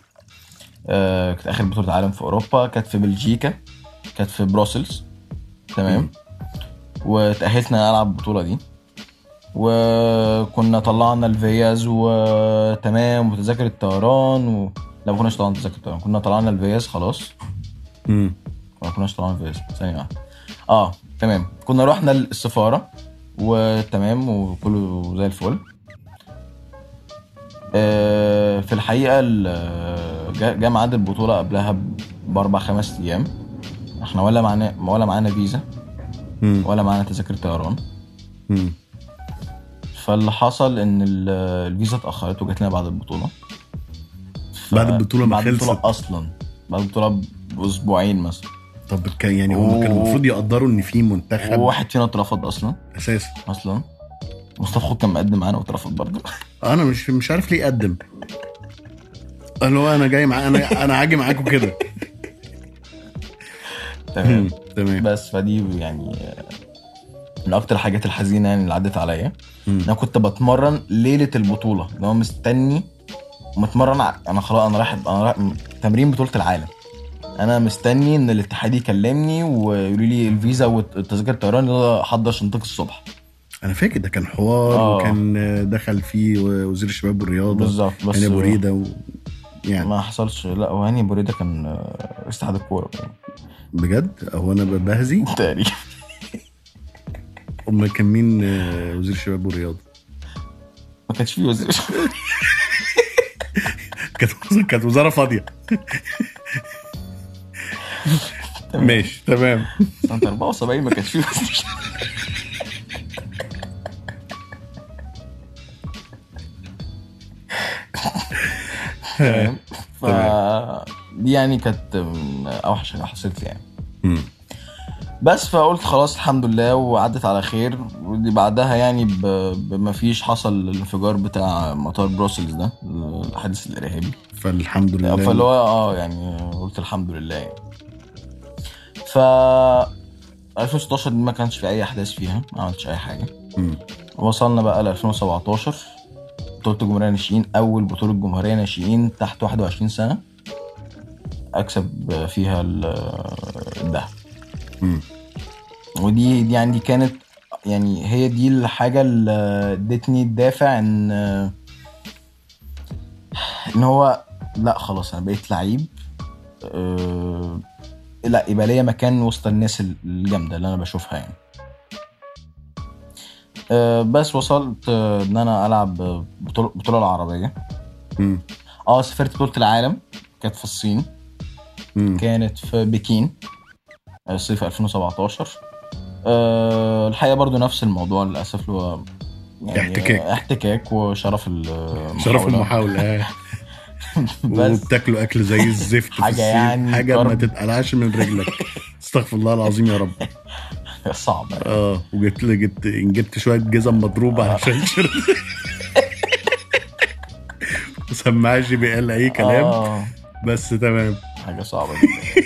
Speaker 2: آه كانت اخر بطولة عالم في اوروبا كانت في بلجيكا كانت في بروسلز تمام واتأهلت ان انا العب البطولة دي وكنا طلعنا الفيز وتمام وتذاكر الطيران و... لا ما كناش طلعنا تذاكر الطيران كنا طلعنا الفيز خلاص
Speaker 1: مم.
Speaker 2: ما كناش طالعين فيز ثانية واحدة اه تمام كنا رحنا السفارة وتمام وكله زي الفل آه في الحقيقة ال- آه، جا جا ميعاد البطولة قبلها ب- بأربع خمس أيام احنا ولا معانا ولا معانا فيزا
Speaker 1: مم.
Speaker 2: ولا معانا تذاكر طيران
Speaker 1: مم.
Speaker 2: فاللي حصل ان ال- آه، الفيزا اتأخرت وجات لنا بعد البطولة ف-
Speaker 1: بعد البطولة ما
Speaker 2: بعد البطولة
Speaker 1: خلصت.
Speaker 2: أصلا بعد البطولة بأسبوعين مثلا
Speaker 1: طب كان يعني هم كانوا
Speaker 2: أوه.
Speaker 1: المفروض يقدروا ان في منتخب
Speaker 2: وواحد فينا اترفض أصلا
Speaker 1: اساسا
Speaker 2: اصلا مصطفى خد كان مقدم معانا واترفض برضه
Speaker 1: انا مش مش عارف ليه اقدم قال هو انا جاي مع انا انا هاجي معاكم كده
Speaker 2: تمام
Speaker 1: (laughs) تمام
Speaker 2: (laughs) بس فدي يعني آه، من اكتر الحاجات الحزينه يعني اللي عدت عليا
Speaker 1: مم.
Speaker 2: انا كنت بتمرن ليله البطوله اللي هو مستني متمرن ع- انا خلاص انا رايح انا رايح م- تمرين بطوله العالم انا مستني ان الاتحاد يكلمني ويقولوا لي الفيزا والتذاكر الطيران يلا حضر شنطتك الصبح
Speaker 1: انا فاكر ده كان حوار
Speaker 2: آه.
Speaker 1: وكان دخل فيه وزير الشباب والرياضه
Speaker 2: بالظبط بس
Speaker 1: هاني ابو ريده و... يعني
Speaker 2: ما حصلش لا وهاني بوريدا كان آه، اتحاد (laughs) الكوره
Speaker 1: بجد هو انا بهزي
Speaker 2: تقريبا
Speaker 1: امال كان مين آه، وزير الشباب والرياضه
Speaker 2: ما كانش فيه وزير
Speaker 1: (laughs) كانت كانت وزاره
Speaker 2: (laughs)
Speaker 1: فاضيه ماشي تمام
Speaker 2: سنة 74 إيه ما كانش فيه وزير تمام ف دي يعني كانت من اوحش حاجه حصلت لي يعني
Speaker 1: مم.
Speaker 2: بس فقلت خلاص الحمد لله وعدت على خير ودي بعدها يعني ب... بما فيش حصل الانفجار بتاع مطار بروسلز ده الحادث الارهابي
Speaker 1: فالحمد لله
Speaker 2: فاللي هو اه يعني قلت الحمد لله يعني. ف 2016 دي ما كانش في اي احداث فيها ما عملتش اي حاجه
Speaker 1: مم.
Speaker 2: وصلنا بقى ل 2017 بطوله الجمهوريه ناشئين اول بطوله جمهوريه ناشئين تحت 21 سنه اكسب فيها ال- الدهب
Speaker 1: مم.
Speaker 2: ودي دي عندي كانت يعني هي دي الحاجة اللي ادتني الدافع ان ان هو لا خلاص انا بقيت لعيب أه، لا يبقى ليا مكان وسط الناس الجامدة اللي انا بشوفها يعني أه، بس وصلت أه، ان انا العب بطولة بطولة العربية
Speaker 1: مم.
Speaker 2: اه سافرت بطولة العالم كانت في الصين
Speaker 1: مم.
Speaker 2: كانت في بكين آه، صيف 2017 أه الحقيقه برضو نفس الموضوع للاسف اللي هو يعني
Speaker 1: احتكاك.
Speaker 2: آه، احتكاك وشرف المحاولة
Speaker 1: شرف المحاولة آه.
Speaker 2: (laughs) بس
Speaker 1: وبتاكلوا اكل زي الزفت في
Speaker 2: حاجة
Speaker 1: الصين.
Speaker 2: يعني
Speaker 1: حاجة ما
Speaker 2: كرب.
Speaker 1: تتقلعش من
Speaker 2: (laughs)
Speaker 1: رجلك استغفر الله العظيم يا رب
Speaker 2: صعبه يعني.
Speaker 1: اه وجبت لي جبت جبت شويه جزم
Speaker 2: آه.
Speaker 1: مضروبه عشان شرب (laughs) سماعه جي بي ال اي كلام
Speaker 2: آه
Speaker 1: بس تمام
Speaker 2: حاجه صعبه جدا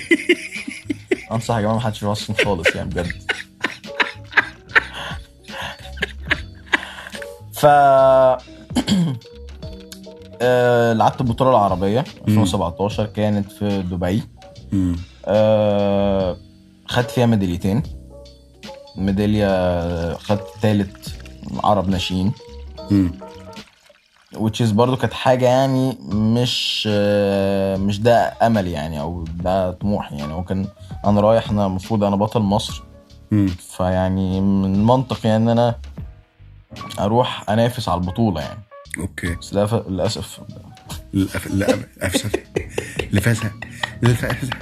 Speaker 2: انصح يا جماعه ما حدش يروح الصين خالص يعني بجد ف (clears throat) آه، لعبت البطوله العربيه 2017 كانت في دبي
Speaker 1: مم.
Speaker 2: آه، خدت فيها ميداليتين ميدالية خدت تالت عرب ناشئين
Speaker 1: مم.
Speaker 2: which is برضو كانت حاجة يعني مش آه، مش ده أمل يعني أو ده طموح يعني هو كان أنا رايح أنا المفروض أنا بطل مصر
Speaker 1: مم.
Speaker 2: فيعني من المنطق يعني ان انا اروح انافس على البطوله يعني
Speaker 1: اوكي
Speaker 2: بس للأف- للاسف
Speaker 1: للأف... للأسف
Speaker 2: (laughs)
Speaker 1: لفزع للفزع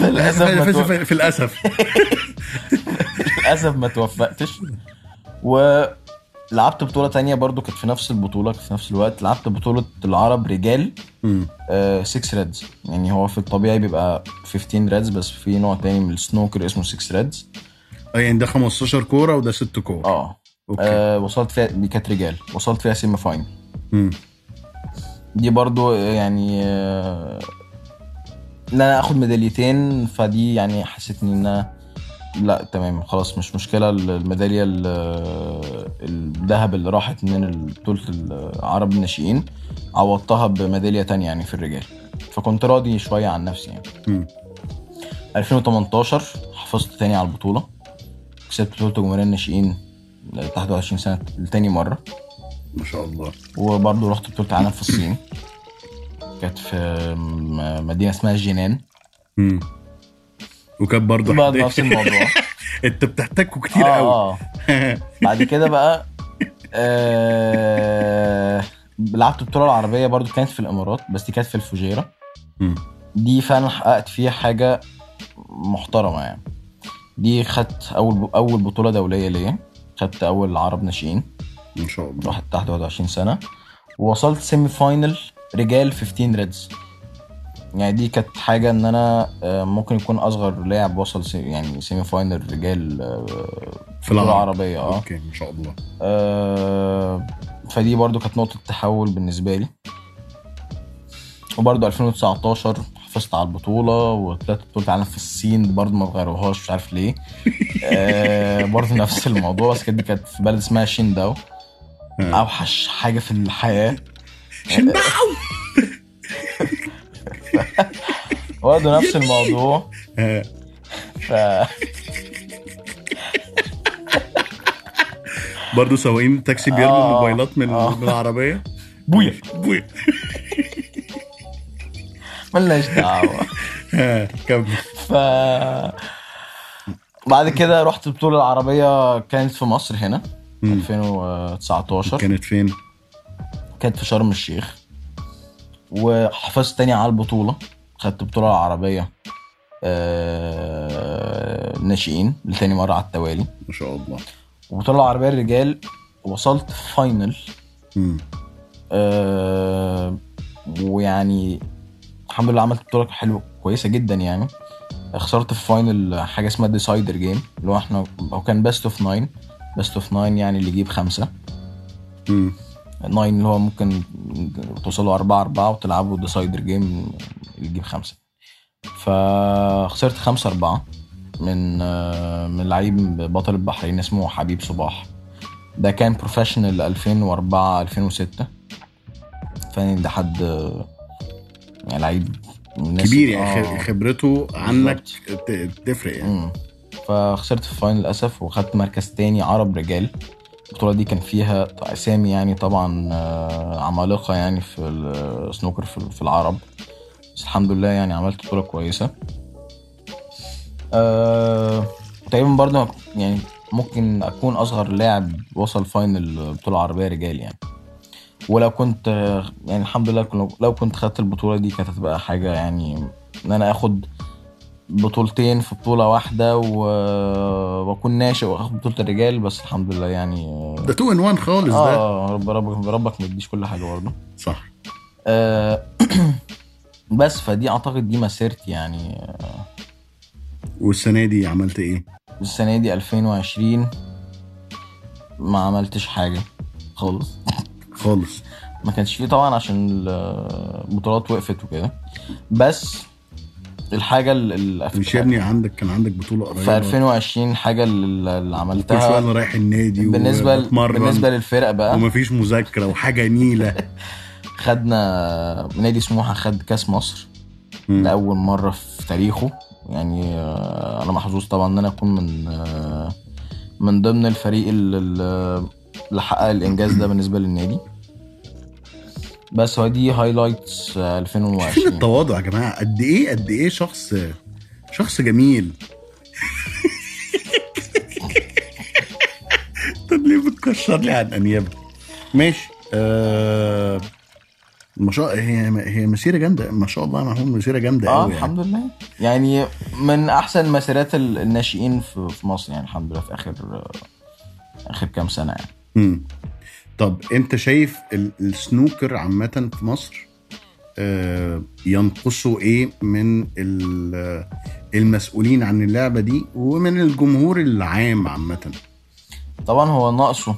Speaker 2: للاسف ما تو-
Speaker 1: في الأسف
Speaker 2: للاسف ما توفقتش ولعبت بطوله تانية برضو كانت في نفس البطوله في نفس الوقت لعبت بطوله العرب رجال
Speaker 1: مم.
Speaker 2: 6 ريدز آه، يعني هو في الطبيعي بيبقى 15 ريدز بس في نوع تاني من السنوكر اسمه 6 ريدز
Speaker 1: اه يعني ده 15 كورة وده 6 كورة
Speaker 2: اه
Speaker 1: اوكي
Speaker 2: آه، وصلت فيها دي كانت رجال وصلت فيها سيمي فاينل
Speaker 1: مم.
Speaker 2: دي برضو يعني آه، ان انا اخد ميداليتين فدي يعني حسيتني ان أنا لا تمام خلاص مش مشكله الميداليه ال- آه، الذهب اللي راحت من بطوله العرب الناشئين عوضتها بميداليه تانية يعني في الرجال فكنت راضي شويه عن نفسي يعني
Speaker 1: مم.
Speaker 2: 2018 حافظت تاني على البطوله كسبت بطوله جمهوريه الناشئين تحت 21 سنه لتاني مره
Speaker 1: ما شاء الله
Speaker 2: وبرضه رحت بطولة العالم في الصين كانت في م- مدينة اسمها جنان
Speaker 1: مم. وكان برضه
Speaker 2: بعد
Speaker 1: حد-
Speaker 2: نفس الموضوع
Speaker 1: انت بتحتاجه (laughs) كتير
Speaker 2: آه،
Speaker 1: قوي
Speaker 2: آه. بعد كده بقى آه لعبت البطولة العربية برضو كانت في الإمارات بس دي كانت في الفجيرة
Speaker 1: (laughs) مم.
Speaker 2: دي فعلا حققت فيها حاجة محترمة يعني دي خدت أول أول بطولة دولية ليا خدت أول عرب ناشئين
Speaker 1: ما شاء الله
Speaker 2: واحد تحت 21 سنه ووصلت سيمي فاينل رجال 15 ريدز يعني دي كانت حاجه ان انا آه، ممكن يكون اصغر لاعب وصل سي يعني سيمي فاينل رجال آه، في البطوله
Speaker 1: العرب.
Speaker 2: العربيه اه
Speaker 1: اوكي ما شاء الله
Speaker 2: آه، فدي برضو كانت نقطه تحول بالنسبه لي وبرضو 2019 حافظت على البطوله وطلعت بطوله العالم في الصين دي برضو ما غيروهاش مش عارف ليه آه، (laughs) برضو نفس الموضوع بس كانت دي كانت في بلد اسمها شينداو
Speaker 1: آه.
Speaker 2: اوحش حاجه في الحياه
Speaker 1: شنداو
Speaker 2: برضه نفس الموضوع
Speaker 1: آه.
Speaker 2: ف
Speaker 1: برضه سواقين تاكسي بيرموا
Speaker 2: آه.
Speaker 1: الموبايلات من
Speaker 2: آه.
Speaker 1: من العربية
Speaker 2: (laughs) بويا
Speaker 1: (laughs) بوي
Speaker 2: ملناش دعوه
Speaker 1: آه. كمل
Speaker 2: ف بعد كده رحت البطوله العربيه كانت في مصر هنا
Speaker 1: مم.
Speaker 2: 2019
Speaker 1: كانت فين؟
Speaker 2: كانت في شرم الشيخ وحفظت تاني على البطوله خدت البطوله العربيه آه، ناشئين لتاني مره على التوالي
Speaker 1: ما شاء الله
Speaker 2: البطوله العربيه الرجال وصلت فاينل
Speaker 1: مم.
Speaker 2: آه، ويعني الحمد لله عملت بطوله حلوه كويسه جدا يعني خسرت في فاينل حاجه اسمها ديسايدر جيم اللي هو احنا هو كان بيست اوف 9 بيست اوف 9 يعني اللي يجيب خمسه
Speaker 1: مم.
Speaker 2: 9 اللي هو ممكن توصلوا 4 4 وتلعبوا ديسايدر جيم اللي يجيب خمسه فخسرت 5 4 من آه، من لعيب بطل البحرين اسمه حبيب صباح ده كان بروفيشنال 2004 2006 فاهم ده حد آه، يعني لعيب من الناس-
Speaker 1: كبير
Speaker 2: آه.
Speaker 1: يعني خ- خبرته عنك
Speaker 2: بالظبط.
Speaker 1: ت- تفرق يعني
Speaker 2: مم. فخسرت في الفاينل للاسف وخدت مركز تاني عرب رجال البطوله دي كان فيها اسامي يعني طبعا آه، عمالقه يعني في السنوكر في في العرب بس الحمد لله يعني عملت بطوله كويسه أه تقريبا برضه يعني ممكن اكون اصغر لاعب وصل فاينل بطوله عربيه رجال يعني ولو كنت آه، يعني الحمد لله كن- لو كنت خدت البطوله دي كانت هتبقى حاجه يعني ان انا اخد بطولتين في بطوله واحده و... واكون ناشئ واخد بطوله الرجال بس الحمد لله يعني آه،
Speaker 1: ده 2 ان 1 خالص ده
Speaker 2: اه رب ربك ربك ما يديش كل حاجه برضه
Speaker 1: صح
Speaker 2: آه، (clears throat) بس فدي اعتقد دي مسيرتي يعني آه،
Speaker 1: والسنة دي عملت ايه؟
Speaker 2: السنه دي 2020 ما عملتش حاجه خالص
Speaker 1: خالص
Speaker 2: ما كانش فيه طبعا عشان البطولات وقفت وكده بس الحاجه اللي
Speaker 1: مش يا ابني عندك كان عندك بطولة قريبة
Speaker 2: في 2020 حاجه اللي اللي
Speaker 1: كل شويه
Speaker 2: عملتها
Speaker 1: انا رايح النادي
Speaker 2: بالنسبه ل-
Speaker 1: وبتمرن
Speaker 2: بالنسبه للفرق بقى
Speaker 1: ومفيش مذاكره وحاجه
Speaker 2: (laughs)
Speaker 1: نيله
Speaker 2: خدنا نادي سموحه خد كاس مصر
Speaker 1: مم.
Speaker 2: لاول مره في تاريخه يعني آه، انا محظوظ طبعا ان انا اكون من آه، من ضمن الفريق ال- ال- اللي حقق الانجاز ده بالنسبه للنادي بس هو دي هايلايتس آه،
Speaker 1: فين
Speaker 2: 2020
Speaker 1: التواضع يا إيه- (laughs) جماعه قد ايه قد ايه شخص شخص جميل انت ليه بتكشر لي عن انيابك ماشي آه ما شاء هي هي مسيره جامده ما شاء الله معهم مسيره جامده
Speaker 2: اه
Speaker 1: قوي يعني.
Speaker 2: الحمد لله يعني من احسن مسيرات ال- الناشئين في في مصر يعني الحمد لله في اخر اخر كام سنه يعني
Speaker 1: مم. طب انت شايف ال- السنوكر عامه في مصر آه ينقصه ايه من ال- المسؤولين عن اللعبه دي ومن الجمهور العام عامه
Speaker 2: طبعا هو ناقصه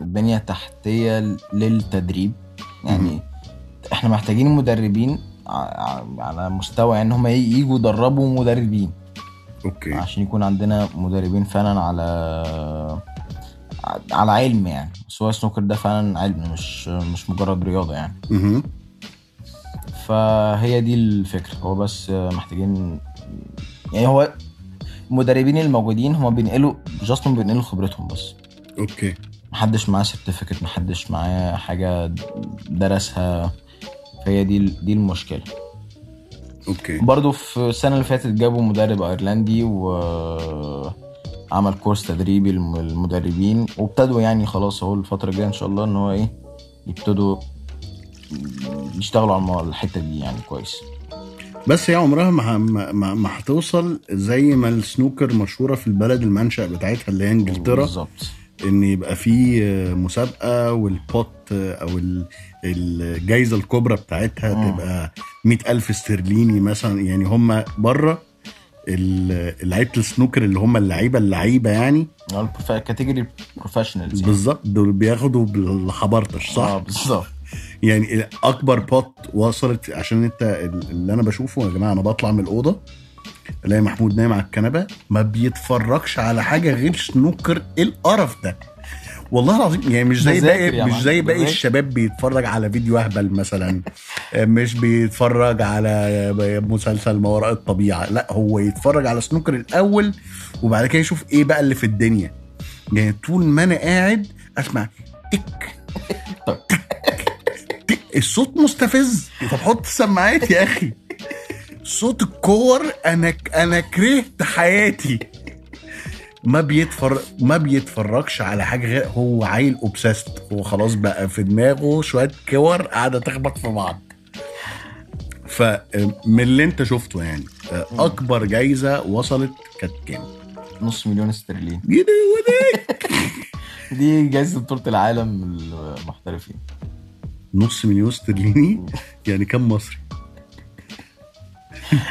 Speaker 2: البنيه التحتيه للتدريب يعني احنا محتاجين مدربين ع- ع- على مستوى يعني ان هم ي- يجوا يدربوا مدربين
Speaker 1: اوكي
Speaker 2: عشان يكون عندنا مدربين فعلا على على علم يعني بس هو السنوكر ده فعلا علم مش مش مجرد رياضه يعني
Speaker 1: مهم.
Speaker 2: فهي دي الفكره هو بس محتاجين يعني هو المدربين الموجودين هما بينقلوا جاست هما بينقلوا خبرتهم بس
Speaker 1: اوكي
Speaker 2: محدش معاه سيرتيفيكت محدش معاه حاجه درسها فهي دي دي المشكله
Speaker 1: اوكي
Speaker 2: برضو في السنه اللي فاتت جابوا مدرب ايرلندي و عمل كورس تدريبي للمدربين وابتدوا يعني خلاص اهو الفتره الجايه ان شاء الله ان هو ايه يبتدوا يشتغلوا على المو- الحته دي يعني كويس
Speaker 1: بس هي عمرها ما ما- ما ما هتوصل زي ما السنوكر مشهوره في البلد المنشأ بتاعتها اللي هي انجلترا
Speaker 2: بالظبط
Speaker 1: ان يبقى في مسابقه والبوت او ال- الجايزه الكبرى بتاعتها
Speaker 2: مم.
Speaker 1: تبقى مئة ألف استرليني مثلا يعني هم بره ال- لعيبه السنوكر اللي هم اللعيبه اللعيبه يعني
Speaker 2: هو البروف- كاتيجوري بروفيشنالز يعني.
Speaker 1: بالظبط دول بياخدوا بالحبرتش صح؟
Speaker 2: اه بالظبط
Speaker 1: يعني اكبر بوت وصلت عشان انت اللي انا بشوفه يا جماعه انا بطلع من الاوضه الاقي محمود نايم على الكنبه ما بيتفرجش على حاجه غير سنوكر إيه القرف ده والله العظيم يعني مش زي
Speaker 2: بذاكر
Speaker 1: باقي
Speaker 2: يا
Speaker 1: مش
Speaker 2: معلم،
Speaker 1: زي باقي
Speaker 2: بذاكر.
Speaker 1: الشباب بيتفرج على فيديو اهبل مثلا (laughs) مش بيتفرج على مسلسل ما وراء الطبيعه لا هو يتفرج على سنوكر الاول وبعد كده يشوف ايه بقى اللي في الدنيا يعني طول ما انا قاعد اسمع تك
Speaker 2: طب.
Speaker 1: تك. الصوت مستفز طب حط السماعات يا اخي صوت الكور انا انا كرهت حياتي ما بيتفر ما بيتفرجش على حاجه غير هو عيل اوبسست هو خلاص بقى في دماغه شويه كور قاعده تخبط في بعض فمن اللي انت شفته يعني اكبر جايزه وصلت كانت كام؟
Speaker 2: نص مليون استرليني
Speaker 1: يا دي ودي.
Speaker 2: دي جايزه بطوله العالم المحترفين
Speaker 1: نص مليون استرليني يعني كم مصري؟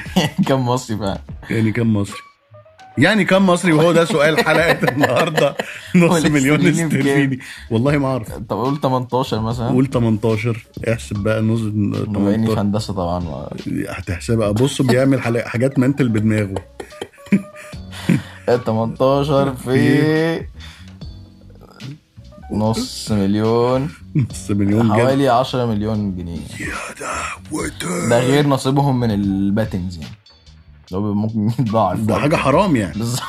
Speaker 2: (laughs) كم مصري بقى
Speaker 1: يعني كم مصري؟ يعني كم مصري وهو ده سؤال حلقه النهارده نص مليون
Speaker 2: والاسترليني بكام؟
Speaker 1: استرليني والله ما اعرف
Speaker 2: طب قول 18 مثلا
Speaker 1: قول 18 احسب بقى نص
Speaker 2: بما اني
Speaker 1: 18
Speaker 2: في هندسه طبعا ما-
Speaker 1: هتحسبها بص بيعمل حلا- حاجات منتل بدماغه
Speaker 2: 18 إيه، في نص مليون
Speaker 1: نص مليون جنيه
Speaker 2: حوالي 10 مليون جنيه
Speaker 1: يا دعوته
Speaker 2: ده غير نصيبهم من الباتنز يعني لو ممكن (laughs) يتضاعف
Speaker 1: ده حاجه حرام يعني
Speaker 2: بالظبط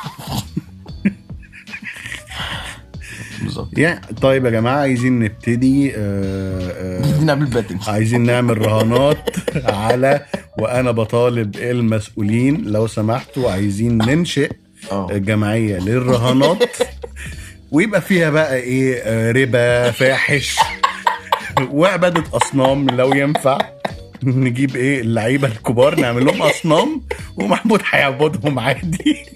Speaker 2: بالظبط
Speaker 1: يعني طيب يا جماعه عايزين نبتدي آه، آه،
Speaker 2: دي قبل الباتنج
Speaker 1: عايزين نعمل رهانات على وانا بطالب المسؤولين لو سمحتوا عايزين ننشئ
Speaker 2: اه
Speaker 1: جمعيه
Speaker 2: (laughs)
Speaker 1: للرهانات ويبقى فيها بقى ايه آه، ربا فاحش وعباده اصنام لو ينفع نجيب ايه اللعيبه الكبار نعمل لهم اصنام ومحمود هيعبدهم عادي (laughs)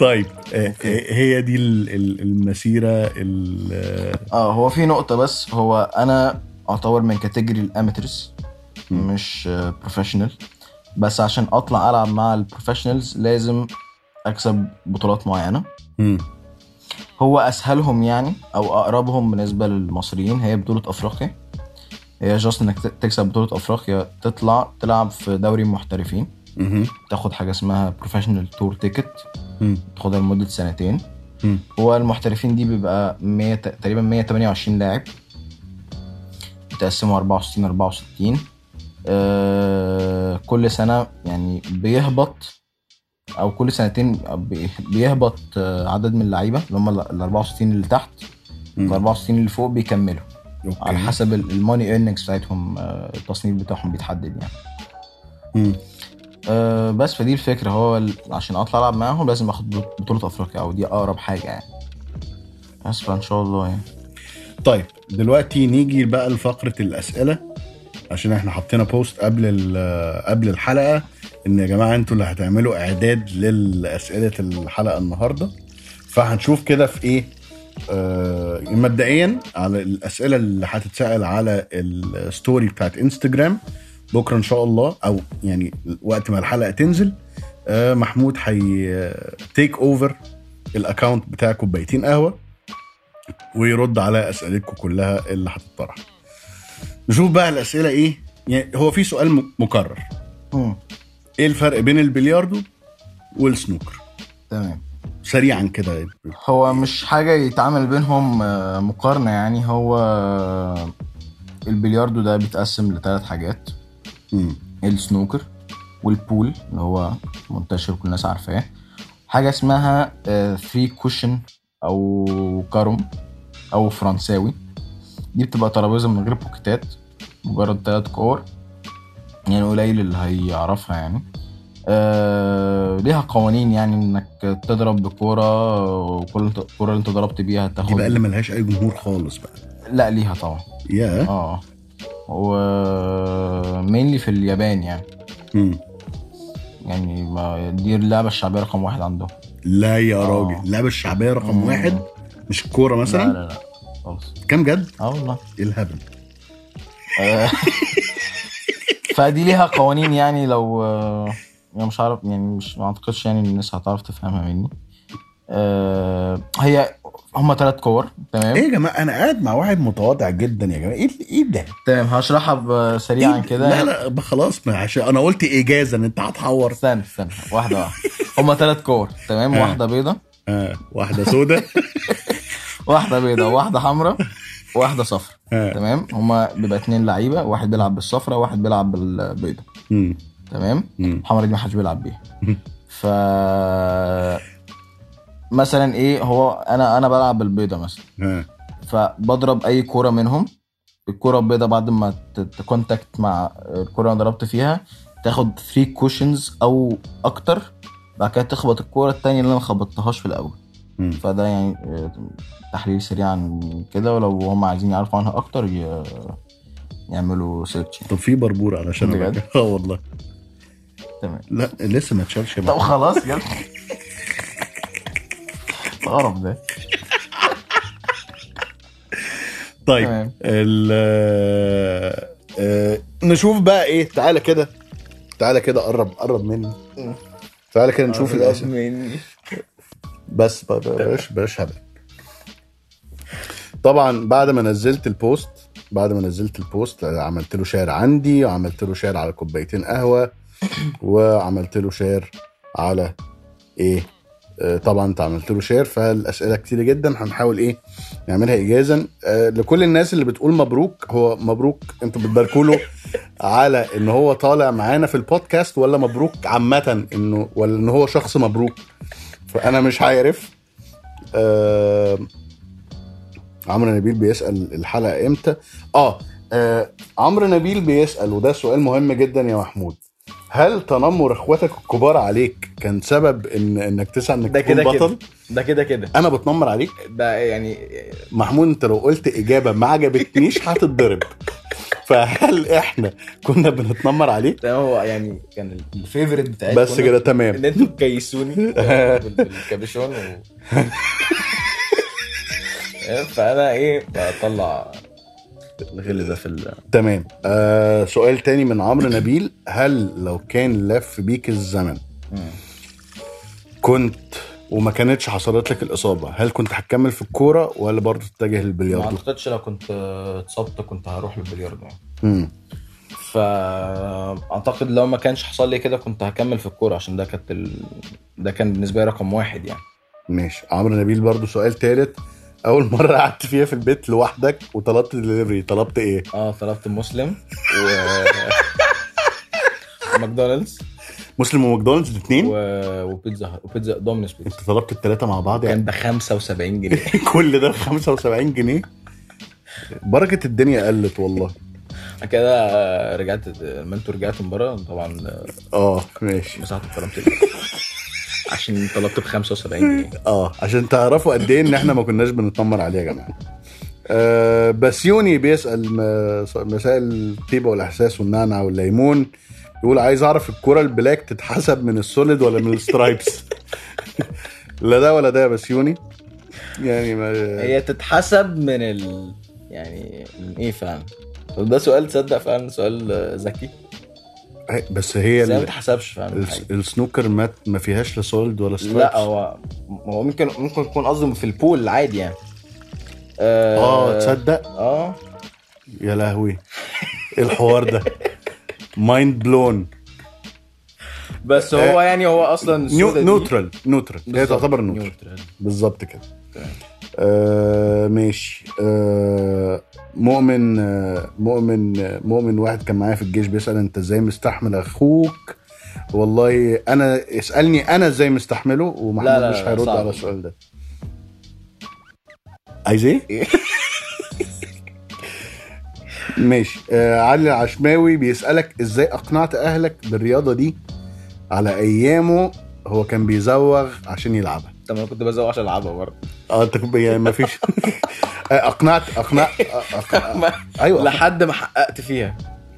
Speaker 1: طيب آه، آه، هي دي ال- ال- المسيره ال- آه،
Speaker 2: اه هو في نقطة بس هو أنا أعتبر من كاتيجوري الأماترز
Speaker 1: مم.
Speaker 2: مش بروفيشنال بس عشان أطلع ألعب مع البروفيشنالز لازم أكسب بطولات معينة
Speaker 1: مم.
Speaker 2: هو أسهلهم يعني أو أقربهم بالنسبة للمصريين هي بطولة أفريقيا هي جاست إنك ت- تكسب بطولة أفريقيا تطلع تلعب في دوري محترفين
Speaker 1: مهم.
Speaker 2: تاخد حاجة اسمها بروفيشنال تور تيكت
Speaker 1: مم.
Speaker 2: تاخدها لمدة سنتين
Speaker 1: مم.
Speaker 2: هو المحترفين دي بيبقى 100 تقريبا 128 لاعب بتقسموا 64 64 آه كل سنة يعني بيهبط أو كل سنتين بي- بيهبط آه، عدد من اللعيبة اللي هم ال 64 اللي تحت
Speaker 1: مم.
Speaker 2: ال 64 اللي فوق بيكملوا
Speaker 1: أوكي.
Speaker 2: على حسب الماني ايرننجز بتاعتهم آه، التصنيف بتاعهم بيتحدد يعني
Speaker 1: مم.
Speaker 2: أه بس فدي الفكره هو ال- عشان اطلع العب معاهم لازم اخد بط- بطوله افريقيا او دي اقرب حاجه يعني بس فان شاء الله يعني
Speaker 1: طيب دلوقتي نيجي بقى لفقره الاسئله عشان احنا حطينا بوست قبل ال- قبل الحلقه ان يا جماعه انتوا اللي هتعملوا اعداد للاسئله الحلقه النهارده فهنشوف كده في ايه آه مبدئيا على الاسئله اللي هتتسال على الستوري بتاعت انستجرام بكره ان شاء الله او يعني وقت ما الحلقه تنزل آه محمود هي آه، تيك اوفر الاكونت بتاع كوبايتين قهوه ويرد على اسئلتكم كلها اللي هتطرح نشوف بقى الاسئله ايه يعني هو في سؤال م- مكرر
Speaker 2: مم.
Speaker 1: ايه الفرق بين البلياردو والسنوكر
Speaker 2: تمام
Speaker 1: سريعا كده
Speaker 2: هو مش حاجة يتعامل بينهم آه، مقارنة يعني هو آه، البلياردو ده بيتقسم لثلاث حاجات
Speaker 1: مم.
Speaker 2: السنوكر والبول اللي هو منتشر كل الناس عارفاه حاجة اسمها ثري كوشن أو كارم أو فرنساوي دي بتبقى ترابيزة من غير بوكيتات مجرد تلات كور يعني قليل اللي هيعرفها يعني آه ليها قوانين يعني انك تضرب بكورة وكل الكورة اللي انت ضربت بيها
Speaker 1: دي
Speaker 2: تاخد
Speaker 1: بقى اللي ملهاش اي جمهور خالص بقى
Speaker 2: لا ليها طبعا
Speaker 1: يا
Speaker 2: اه و mainly في اليابان يعني
Speaker 1: مم.
Speaker 2: يعني ما دي اللعبه الشعبيه رقم واحد عندهم
Speaker 1: لا يا
Speaker 2: آه.
Speaker 1: راجل اللعبه الشعبيه رقم
Speaker 2: مم.
Speaker 1: واحد مش الكوره
Speaker 2: لا
Speaker 1: مثلا
Speaker 2: لا لا خالص
Speaker 1: كام جد
Speaker 2: اه والله
Speaker 1: ايه الهبل
Speaker 2: آه. فدي ليها قوانين يعني لو آه، انا مش عارف يعني مش ما اعتقدش يعني إن الناس هتعرف تفهمها مني آه، هي هما ثلاث كور
Speaker 1: ايه
Speaker 2: تمام
Speaker 1: يا جماعه انا قاعد مع واحد متواضع جدا يا جماعه ايه ايه ده
Speaker 2: تمام هشرحها ب- سريعا
Speaker 1: إيه- لا
Speaker 2: يعني كده
Speaker 1: لا ب- خلاص ما عشان انا قلت اجازه ان انت هتحور
Speaker 2: استنى استنى واحده واحده هما ثلاث كور تمام
Speaker 1: آه.
Speaker 2: واحده بيضه
Speaker 1: آه. واحده
Speaker 2: (laughs)
Speaker 1: سودة
Speaker 2: واحده بيضه واحده حمراء واحده صفراء
Speaker 1: آه.
Speaker 2: تمام هما بيبقى اتنين لعيبه واحد بيلعب بالصفراء واحد بيلعب بالبيضه
Speaker 1: مم.
Speaker 2: تمام
Speaker 1: مم.
Speaker 2: الحمرا دي ما حدش بيلعب بيها
Speaker 1: مم.
Speaker 2: ف مثلا ايه هو انا انا بلعب بالبيضه مثلا
Speaker 1: آه.
Speaker 2: فبضرب اي كوره منهم الكوره البيضه بعد ما تكونتاكت مع الكوره اللي أنا ضربت فيها تاخد 3 كوشنز او اكتر بعد كده تخبط الكوره التانية اللي انا ما خبطتهاش في الاول
Speaker 1: مم.
Speaker 2: فده يعني آه، تحليل سريع عن كده ولو هم عايزين يعرفوا عنها اكتر ي- يعملوا يعني. سيرتش
Speaker 1: طب في بربور علشان (laughs)
Speaker 2: بجد؟
Speaker 1: أبقى- اه والله
Speaker 2: تمام
Speaker 1: لا لسه ما اتشالش
Speaker 2: طب
Speaker 1: بقى.
Speaker 2: خلاص يلا القرف ده
Speaker 1: طيب
Speaker 2: تمام
Speaker 1: ال آه، آه، نشوف بقى ايه تعالى كده تعالى كده قرب قرب مني تعالى كده
Speaker 2: آه،
Speaker 1: نشوف الاسئله
Speaker 2: مني
Speaker 1: بس بقى- بقى- بلاش بلاش هبل طبعا بعد ما نزلت البوست بعد ما نزلت البوست عملت له شير عندي وعملت له شير على كوبايتين قهوه وعملت له شير على ايه آه، طبعا انت عملت له شير فالاسئله كتير جدا هنحاول ايه نعملها اجازا آه، لكل الناس اللي بتقول مبروك هو مبروك انتوا بتباركوا له على ان هو طالع معانا في البودكاست ولا مبروك عامه انه ولا ان هو شخص مبروك فانا مش عارف آه عمرو نبيل بيسال الحلقه امتى اه, آه عمرو نبيل بيسال وده سؤال مهم جدا يا محمود هل تنمر اخواتك الكبار عليك كان سبب ان انك تسعى انك
Speaker 2: ده
Speaker 1: تكون
Speaker 2: كده
Speaker 1: بطل
Speaker 2: كده ده كده كده
Speaker 1: انا بتنمر عليك
Speaker 2: ده يعني
Speaker 1: محمود انت لو قلت اجابه ما عجبتنيش
Speaker 2: (laughs)
Speaker 1: هتتضرب فهل احنا كنا بنتنمر عليك
Speaker 2: ده هو يعني كان الفيفوريت بتاعي
Speaker 1: بس كده تمام
Speaker 2: ان انتوا تكيسوني
Speaker 1: (laughs)
Speaker 2: بال- بالكابيشون و... (laughs) فانا ايه بطلع الغل ده في ال...
Speaker 1: تمام آه سؤال تاني من
Speaker 2: (coughs)
Speaker 1: عمرو نبيل هل لو كان لف بيك الزمن كنت وما كانتش حصلت لك الاصابه هل كنت هتكمل في الكوره ولا برضه تتجه
Speaker 2: ما
Speaker 1: للبلياردو
Speaker 2: اعتقدش لو كنت اتصبت كنت هروح للبلياردو يعني
Speaker 1: امم
Speaker 2: فاعتقد لو ما كانش حصل لي كده كنت هكمل في الكوره عشان ده كانت ال... ده كان بالنسبه لي رقم واحد يعني
Speaker 1: ماشي عمرو نبيل برضه سؤال تالت (laughs) اول مره قعدت فيها في البيت لوحدك وطلبت دليفري طلبت ايه
Speaker 2: اه طلبت مسلم و (laughs) ماكدونالدز
Speaker 1: مسلم وماكدونالدز الاثنين
Speaker 2: و... وبيتزا هات- وبيتزا دومينوس بيتزا
Speaker 1: انت طلبت الثلاثه مع بعض يعني
Speaker 2: كان ب 75 جنيه
Speaker 1: (laughs) كل ده ب 75 جنيه بركه الدنيا قلت والله
Speaker 2: كده آه، رجعت لما انتوا رجعتوا من بره آه، طبعا
Speaker 1: اه ماشي
Speaker 2: مساحة الكرامتين عشان طلبت ب 75 جنيه
Speaker 1: اه عشان تعرفوا قد ايه ان احنا ما كناش بنتنمر عليه يا جماعه آه بسيوني بيسال م- مسائل الطيبه والاحساس والنعنع والليمون يقول عايز اعرف الكره البلاك تتحسب من السوليد ولا من السترايبس (laughs) لا ده ولا ده يا بسيوني يعني ما
Speaker 2: هي تتحسب من ال يعني من ايه فعلا؟ طب ده سؤال تصدق فعلا سؤال آه، ذكي
Speaker 1: بس هي
Speaker 2: بس هي ما
Speaker 1: ال-
Speaker 2: تتحسبش فعلا
Speaker 1: الس- السنوكر ما ما فيهاش لا سوليد ولا سترايبس
Speaker 2: لا هو هو ممكن ممكن يكون قصده في البول عادي يعني آه،
Speaker 1: اه تصدق
Speaker 2: اه
Speaker 1: يا لهوي إيه الحوار
Speaker 2: (laughs)
Speaker 1: ده مايند بلون
Speaker 2: بس هو يعني هو اصلا السودة دي-
Speaker 1: آه، نيوترال نيوترال هي
Speaker 2: بالظبط،
Speaker 1: تعتبر نيوترال بالظبط كده
Speaker 2: تمام.
Speaker 1: آه ماشي آه مؤمن آه مؤمن آه مؤمن واحد كان معايا في الجيش بيسال انت ازاي مستحمل اخوك والله انا اسالني انا ازاي مستحمله ومحمد
Speaker 2: لا، لا،
Speaker 1: مش
Speaker 2: لا،
Speaker 1: هيرد
Speaker 2: صعب.
Speaker 1: على السؤال ده عايز
Speaker 2: إيه؟
Speaker 1: ايه؟ (laughs) ماشي آه علي العشماوي بيسالك ازاي اقنعت اهلك بالرياضه دي على ايامه هو كان بيزوغ عشان يلعبها
Speaker 2: طب انا كنت بزوق عشان العبها برضه
Speaker 1: (laughs) اه انت كنت- يعني ما فيش (laughs) اقنعت اقنع أقنع- ايوه
Speaker 2: أيوة. لحد ما حققت فيها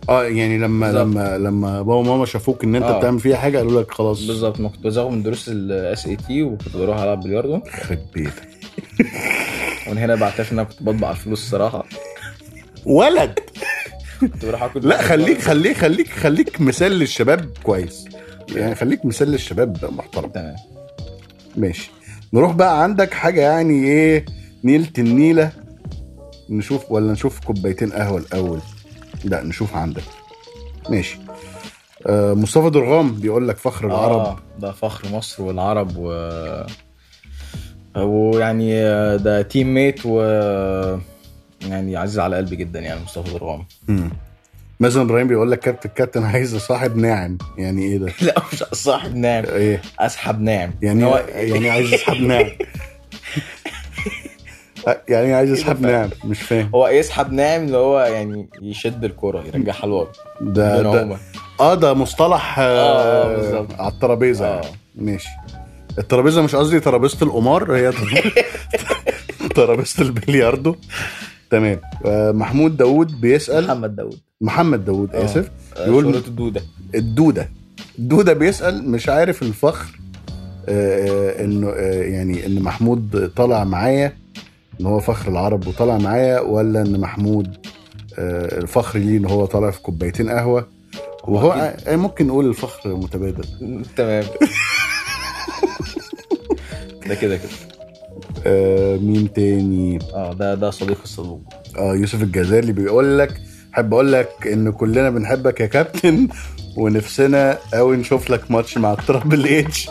Speaker 1: اه يعني لما
Speaker 2: بالظبط.
Speaker 1: لما لما بابا وماما شافوك ان انت
Speaker 2: آه.
Speaker 1: بتعمل فيها حاجه قالوا لك خلاص
Speaker 2: بالظبط ما كنت بزوغ من دروس الاس اي تي وكنت بروح العب بلياردو
Speaker 1: يخرب بيتك
Speaker 2: ومن هنا بعترف ان انا كنت بطبع الفلوس الصراحه
Speaker 1: ولد
Speaker 2: كنت بروح اكل
Speaker 1: لا خليك خليك خليك خليك مثال للشباب كويس يعني خليك مثال للشباب محترم
Speaker 2: تمام
Speaker 1: ماشي نروح بقى عندك حاجه يعني ايه نيلة النيله نشوف ولا نشوف كوبايتين قهوه الاول لا نشوف عندك ماشي آه مصطفى درغام بيقول لك فخر العرب
Speaker 2: العرب آه، ده فخر مصر والعرب و ويعني آه، ده تيم ميت و يعني عزيز على قلبي جدا يعني مصطفى ضرغام
Speaker 1: مم. مازن ابراهيم بيقول لك كابتن كابتن عايز صاحب ناعم يعني ايه ده؟
Speaker 2: (laughs) لا مش صاحب ناعم
Speaker 1: ايه
Speaker 2: اسحب ناعم
Speaker 1: يعني
Speaker 2: هو-
Speaker 1: يعني عايز اصحاب ناعم يعني عايز
Speaker 2: إيه
Speaker 1: اصحاب ناعم مش فاهم
Speaker 2: (laughs) هو يسحب ناعم اللي هو يعني يشد الكرة يرجعها الواقع
Speaker 1: ده ده اه ده مصطلح
Speaker 2: آه، آه،
Speaker 1: آه
Speaker 2: بالظبط.
Speaker 1: على الترابيزه
Speaker 2: آه.
Speaker 1: يعني. ماشي الترابيزه مش قصدي ترابيزه القمار هي (laughs) تر- ترابيزه البلياردو تمام آه محمود داوود بيسال
Speaker 2: محمد داوود
Speaker 1: محمد داوود
Speaker 2: آه.
Speaker 1: اسف
Speaker 2: يقول
Speaker 1: يقول-
Speaker 2: صورة الدودة
Speaker 1: الدوده الدوده بيسال مش عارف الفخر آه، آه، انه آه، يعني ان محمود طلع معايا ان هو فخر العرب وطلع معايا ولا ان محمود آه، الفخر ليه ان هو طالع في كوبايتين قهوه وهو آه، ممكن نقول الفخر متبادل
Speaker 2: تمام (laughs) ده كده كده
Speaker 1: آه، مين تاني
Speaker 2: اه ده ده صديق الصدوق
Speaker 1: اه يوسف الجزالي بيقول لك حب اقول لك ان كلنا بنحبك يا كابتن ونفسنا قوي نشوف لك ماتش مع الترابل اتش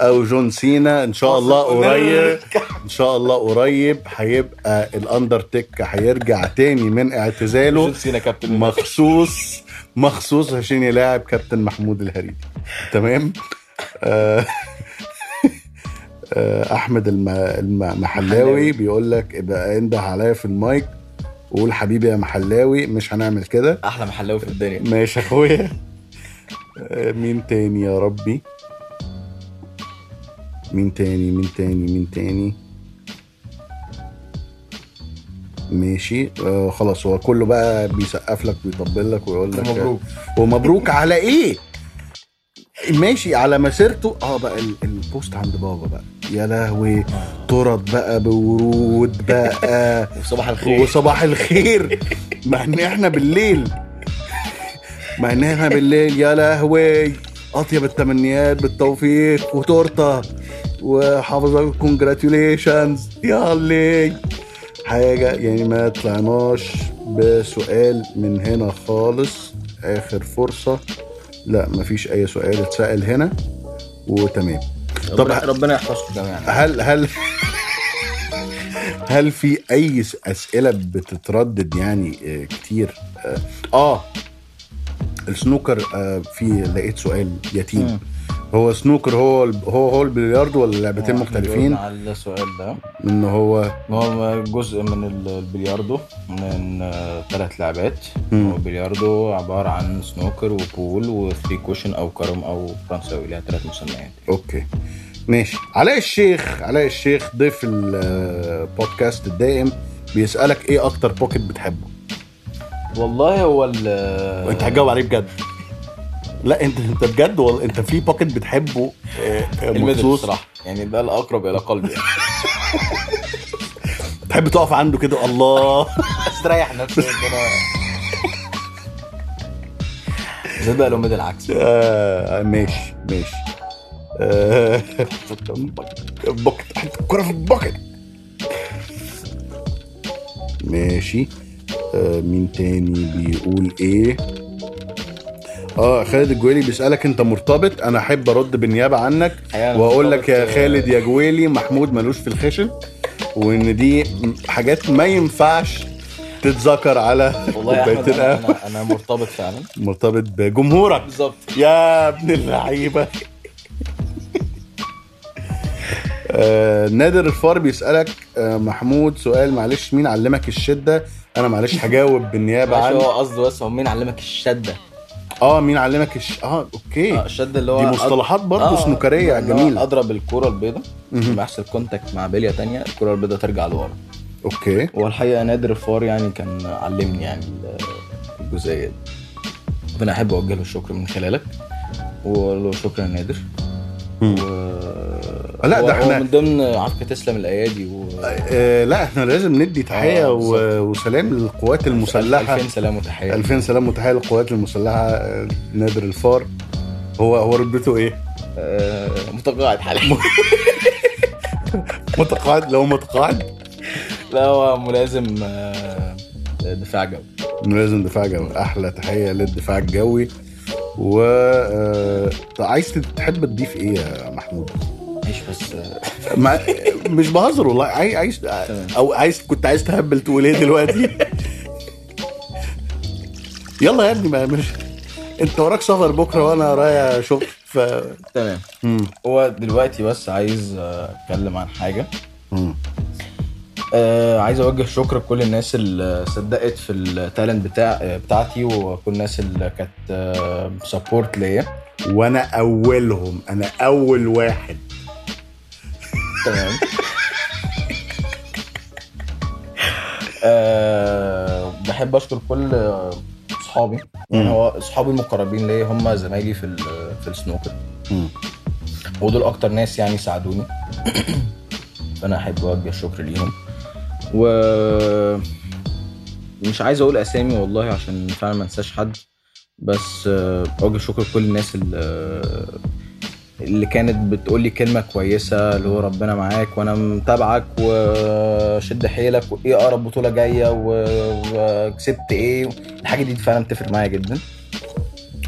Speaker 1: او جون سينا ان شاء الله قريب ان شاء الله قريب هيبقى الاندرتيك هيرجع تاني من
Speaker 2: جون
Speaker 1: اعتزاله
Speaker 2: سينا كابتن
Speaker 1: مخصوص مخصوص عشان يلاعب كابتن محمود الهريدي تمام آه، آه، احمد الم- الم-
Speaker 2: محلاوي.
Speaker 1: المحلاوي بيقول لك ابقى انده عليا في المايك وقول حبيبي يا محلاوي مش هنعمل كده
Speaker 2: احلى محلاوي في الدنيا
Speaker 1: ماشي يا اخويا آه، مين تاني يا ربي مين تاني مين تاني مين تاني ماشي آه خلاص هو كله بقى بيسقف لك بيطبل لك ويقول لك
Speaker 2: مبروك
Speaker 1: ومبروك على ايه ماشي على مسيرته اه بقى ال- البوست عند بابا بقى يا لهوي طرد بقى بورود بقى
Speaker 2: وصباح الخير
Speaker 1: وصباح الخير مع ان احنا بالليل مع ان احنا بالليل يا لهوي اطيب التمنيات بالتوفيق وتورته وحافظك كونجراتيوليشنز يا لي حاجه يعني ما طلعناش بسؤال من هنا خالص اخر فرصه لا مفيش اي سؤال اتسال هنا وتمام طب-
Speaker 2: ربنا- ربنا يحفظكم جميعا
Speaker 1: هل هل هل في اي س- اسئله بتتردد يعني آه، كتير اه, آه السنوكر آه في لقيت سؤال يتيم
Speaker 2: مم.
Speaker 1: هو سنوكر هو ال- هو هو البلياردو ولا لعبتين
Speaker 2: إحنا جاوبنا
Speaker 1: مختلفين
Speaker 2: على السؤال ده
Speaker 1: ان هو
Speaker 2: هو جزء من ال- البلياردو من ثلاث لعبات
Speaker 1: مم.
Speaker 2: هو البلياردو عبارة عن سنوكر وبول وثري كوشن أو كرم أو فرنساوي ليها ثلاث مسميات
Speaker 1: اوكي ماشي علاء الشيخ علاء الشيخ ضيف البودكاست الدائم بيسالك ايه اكتر بوكيت بتحبه
Speaker 2: والله هو ال
Speaker 1: انت هتجاوب عليه بجد لا انت انت بجد والله انت في بوكيت بتحبه آه، آه،
Speaker 2: الميدل
Speaker 1: مخصوص
Speaker 2: بصراحة يعني ده الأقرب إلى (laughs) قلبي يعني.
Speaker 1: تحب تقف عنده كده الله
Speaker 2: استريح نفسي كده زي بقى لو ميدل عكس
Speaker 1: آه، ماشي ماشي آه، بوكيت حط الكرة في البوكيت ماشي آه، مين تاني بيقول ايه اه خالد الجويلي بيسالك انت مرتبط انا احب ارد بالنيابه عنك
Speaker 2: الحقيقة أنا
Speaker 1: واقول لك
Speaker 2: مرتبط-
Speaker 1: يا خالد يا جويلي محمود ملوش في الخشن وان دي حاجات ما ينفعش تتذكر على
Speaker 2: والله يا أحمد
Speaker 1: كوبايتين
Speaker 2: أنا-
Speaker 1: قهوة.
Speaker 2: أنا أنا مرتبط فعلا
Speaker 1: مرتبط بجمهورك
Speaker 2: بالظبط
Speaker 1: يا ابن اللعيبه (laughs) آه، نادر الفار بيسألك آه، محمود سؤال معلش مين علمك الشدة؟ أنا معلش هجاوب بالنيابة
Speaker 2: (laughs) معلش
Speaker 1: عن
Speaker 2: هو قصده بس هو مين علمك
Speaker 1: (laughs)
Speaker 2: الشده
Speaker 1: اه مين علمك الش... اه اوكي
Speaker 2: آه، الشده اللي هو
Speaker 1: دي
Speaker 2: أض-
Speaker 1: مصطلحات برضه
Speaker 2: آه،
Speaker 1: سنوكرية
Speaker 2: اللي هو
Speaker 1: جميلة
Speaker 2: اضرب الكره البيضاء
Speaker 1: مهم.
Speaker 2: لما يحصل كونتاكت مع بليه تانية الكره البيضاء ترجع لورا
Speaker 1: اوكي
Speaker 2: والحقيقه نادر الفار يعني كان علمني يعني ال- الجزئيه دي فانا احب اوجه له الشكر من خلالك واقول له شكرا يا نادر
Speaker 1: مم.
Speaker 2: و...
Speaker 1: لا،
Speaker 2: هو-
Speaker 1: ده
Speaker 2: هو
Speaker 1: إحنا-
Speaker 2: من ضمن عفك تسلم الايادي و
Speaker 1: آه لا احنا لازم ندي تحية
Speaker 2: آه،
Speaker 1: و... وسلام للقوات المسلحة
Speaker 2: الفين سلام وتحيه
Speaker 1: ألفين سلام وتحية للقوات المسلحة آه، نادر الفار هو هو رتبته ايه؟
Speaker 2: آه، متقاعد حاليا
Speaker 1: متقاعد لو متقاعد
Speaker 2: (laughs) لا هو ملازم آه، دفاع جوي
Speaker 1: لازم دفاع جوي احلى تحيه للدفاع الجوي و آه، طب عايز تت- تحب تضيف ايه يا محمود؟
Speaker 2: مش بس آه،
Speaker 1: مع... مش بهزر والله عاي- عايز
Speaker 2: تمام.
Speaker 1: او عايز كنت عايز تهبل تقول ايه دلوقتي؟ يلا يا ابني ما مش انت وراك سفر بكره وانا رايح شغل ف
Speaker 2: تمام
Speaker 1: مم.
Speaker 2: هو دلوقتي بس عايز آه، اتكلم عن حاجه
Speaker 1: مم.
Speaker 2: آه عايز اوجه شكر لكل الناس اللي صدقت في التالنت بتاع آه، بتاعتي وكل الناس اللي كانت سبورت ليا
Speaker 1: وانا اولهم انا اول واحد
Speaker 2: تمام آه بحب اشكر كل آه، اصحابي يعني
Speaker 1: مم.
Speaker 2: هو اصحابي المقربين ليا هم زمايلي في ال- في السنوكر
Speaker 1: مم.
Speaker 2: ودول اكتر ناس يعني ساعدوني (clears throat) فانا احب اوجه شكر ليهم و مش عايز اقول اسامي والله عشان فعلا ما انساش حد بس آه، اوجه شكر لكل الناس اللي اللي كانت بتقول لي كلمه كويسه اللي هو ربنا معاك وانا متابعك وشد حيلك وايه اقرب بطوله جايه و- وكسبت ايه الحاجه دي فعلا بتفرق معايا جدا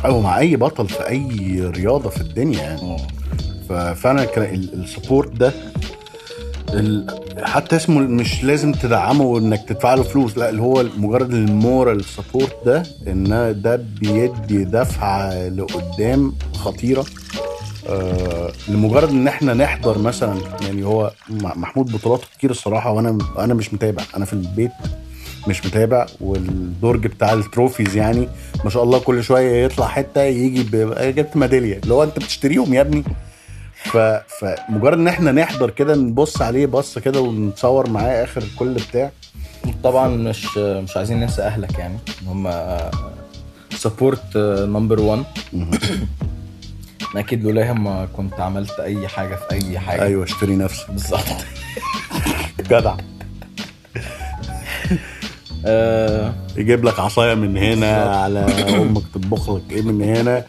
Speaker 1: او مع اي بطل في اي رياضه في الدنيا يعني ففعلا كان ال- السبورت ده ال... حتى اسمه مش لازم تدعمه انك تدفع له فلوس لا اللي هو مجرد المورال سبورت ده ان ده بيدي دفعه لقدام خطيره آه لمجرد ان احنا نحضر مثلا يعني هو م- محمود بطولاته كتير الصراحه وانا انا مش متابع انا في البيت مش متابع والدرج بتاع التروفيز يعني ما شاء الله كل شويه يطلع حته يجي ب- جبت ميداليه اللي هو انت بتشتريهم يا ابني ف... فمجرد ان احنا نحضر كده نبص عليه بص كده ونتصور معاه اخر كل بتاع
Speaker 2: طبعا مش مش عايزين ننسى اهلك يعني إن هم سبورت نمبر 1 (coughs) انا اكيد لولاهم ما كنت عملت اي حاجه في اي حاجه
Speaker 1: ايوه اشتري نفسك
Speaker 2: بالظبط
Speaker 1: جدع
Speaker 2: آه،
Speaker 1: يجيب لك عصايه من هنا
Speaker 2: بالظبط.
Speaker 1: (coughs) على امك تطبخ لك ايه من هنا (laughs)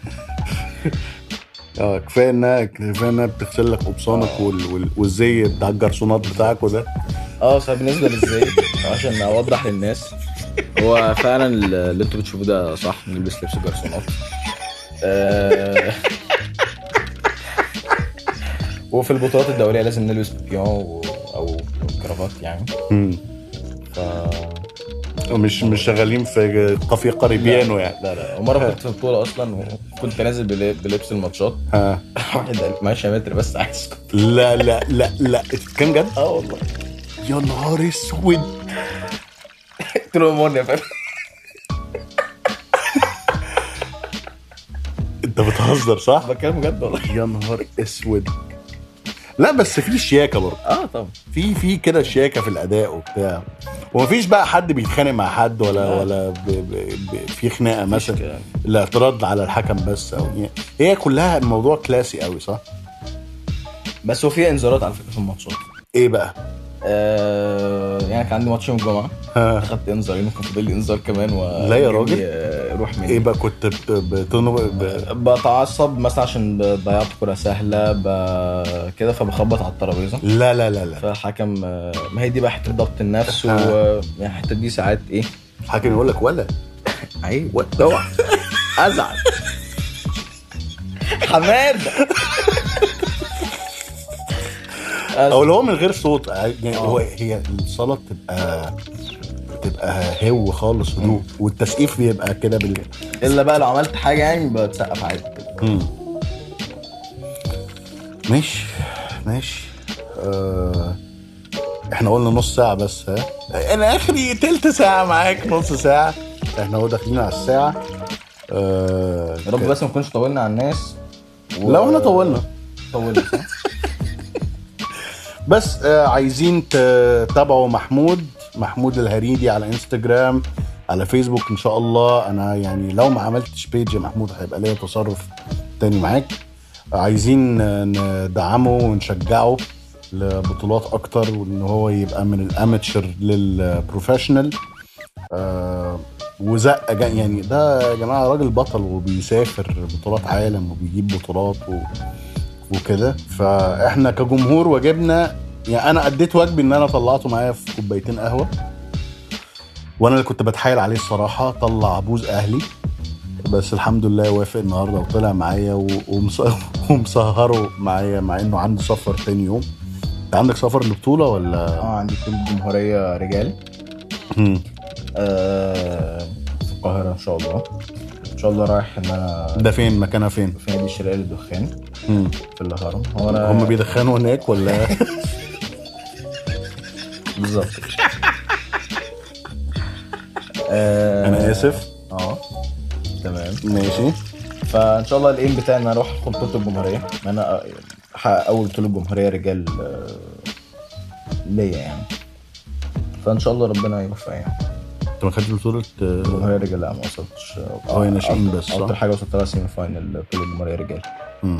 Speaker 1: اه كفايه انها كفايه انها بتغسل لك قبصانك
Speaker 2: آه.
Speaker 1: وال... وال... والزي بتاع الجرسونات بتاعك وده
Speaker 2: اه فبالنسبه للزي عشان اوضح للناس هو فعلا اللي انتوا بتشوفوه ده صح بنلبس لبس جرسونات آه، (laughs) وفي البطولات الدوليه لازم نلبس بيبيون و- او كرافات يعني
Speaker 1: مم.
Speaker 2: ف
Speaker 1: مش مش شغالين في كافيه قريبيانو يعني
Speaker 2: لا لا ومره كنت في بطوله اصلا وكنت نازل بل- بلبس الماتشات (laughs)
Speaker 1: ها.
Speaker 2: واحد قال لي معلش يا متر بس عايزكم
Speaker 1: لا لا لا لا كان جد
Speaker 2: اه والله
Speaker 1: يا نهار اسود
Speaker 2: قلت له مون يا فندم (laughs)
Speaker 1: انت بتهزر صح
Speaker 2: بتكلم بجد والله
Speaker 1: يا نهار اسود لا بس في شياكه برضه
Speaker 2: اه طبعا
Speaker 1: في في كده شياكه في الاداء وبتاع ومفيش بقى حد بيتخانق مع حد ولا
Speaker 2: لا.
Speaker 1: ولا ب ب ب في خناقه مثلا
Speaker 2: كده.
Speaker 1: الاعتراض على الحكم بس او يعني هي كلها الموضوع كلاسي قوي صح
Speaker 2: بس هو في انذارات على فكره في الماتشات
Speaker 1: ايه بقى
Speaker 2: آه يعني كان عندي ماتش يوم الجمعه
Speaker 1: ها.
Speaker 2: اخدت انذار يوم كان فاضل لي انذار كمان و
Speaker 1: لا يا راجل.
Speaker 2: آه، روح مني
Speaker 1: ايه بقى كنت بت- بتنو ب-
Speaker 2: بتعصب مثلا عشان ب- ضيعت كرة سهلة ب... كده فبخبط على الترابيزة
Speaker 1: لا لا لا لا
Speaker 2: فالحكم آه، ما هي دي بقى حتة ضبط النفس
Speaker 1: آه.
Speaker 2: والحتة دي ساعات ايه
Speaker 1: الحاكم يقول لك ولا
Speaker 2: عيب اوعى ازعل حماد
Speaker 1: او لو هو من غير صوت يعني هو هي الصلاه بتبقى بتبقى هو خالص هدوء والتسقيف بيبقى كده بال
Speaker 2: الا بقى لو عملت حاجة يعني بتسقف عادي
Speaker 1: ماشي ماشي آه احنا قلنا نص ساعة بس ها انا اخري تلت ساعة معاك نص ساعة احنا اهو داخلين على الساعة آه
Speaker 2: يا رب بس ما نكونش طولنا على الناس و-
Speaker 1: لو احنا طولنا
Speaker 2: طولنا
Speaker 1: بس آه عايزين تتابعوا محمود محمود الهريدي على انستجرام على فيسبوك ان شاء الله انا يعني لو ما عملتش بيج يا محمود هيبقى ليا تصرف تاني معاك عايزين آه، ندعمه ونشجعه لبطولات اكتر وان هو يبقى من الاماتشر للبروفيشنال آه وزقه جا- يعني ده يا جماعه راجل بطل وبيسافر بطولات عالم وبيجيب بطولات و... وكده فاحنا كجمهور واجبنا يعني انا اديت واجبي ان انا طلعته معايا في كوبايتين قهوه وانا اللي كنت بتحايل عليه الصراحه طلع بوز اهلي بس الحمد لله وافق النهارده وطلع معايا و- ومس- (laughs) ومسهره معايا مع انه عنده سفر تاني يوم انت عندك سفر لبطوله ولا
Speaker 2: اه عندي تيم جمهورية رجال
Speaker 1: مم.
Speaker 2: آه، في القاهرة إن شاء الله إن شاء الله رايح إن أنا
Speaker 1: ده فين مكانها فين
Speaker 2: في نادي الشرقية للدخان
Speaker 1: مم.
Speaker 2: في الهرم هو أنا
Speaker 1: هم بيدخنوا هناك ولا (laughs)
Speaker 2: بالظبط آه،
Speaker 1: انا اسف
Speaker 2: أه تمام
Speaker 1: ماشي
Speaker 2: فإن شاء الله الإيم بتاعي إن أنا أروح أدخل بطولة الجمهورية إن أنا أحقق أول بطولة جمهورية رجال آه، ليا يعني فإن شاء الله ربنا يوفقني يعني
Speaker 1: انت ما خدتش بطوله آه،
Speaker 2: جمهورية رجال لا ما وصلتش
Speaker 1: اه هي ناشئين بس صح؟
Speaker 2: أكتر حاجة وصلت لها سيمي فاينل بطولة جمهورية رجال
Speaker 1: مم.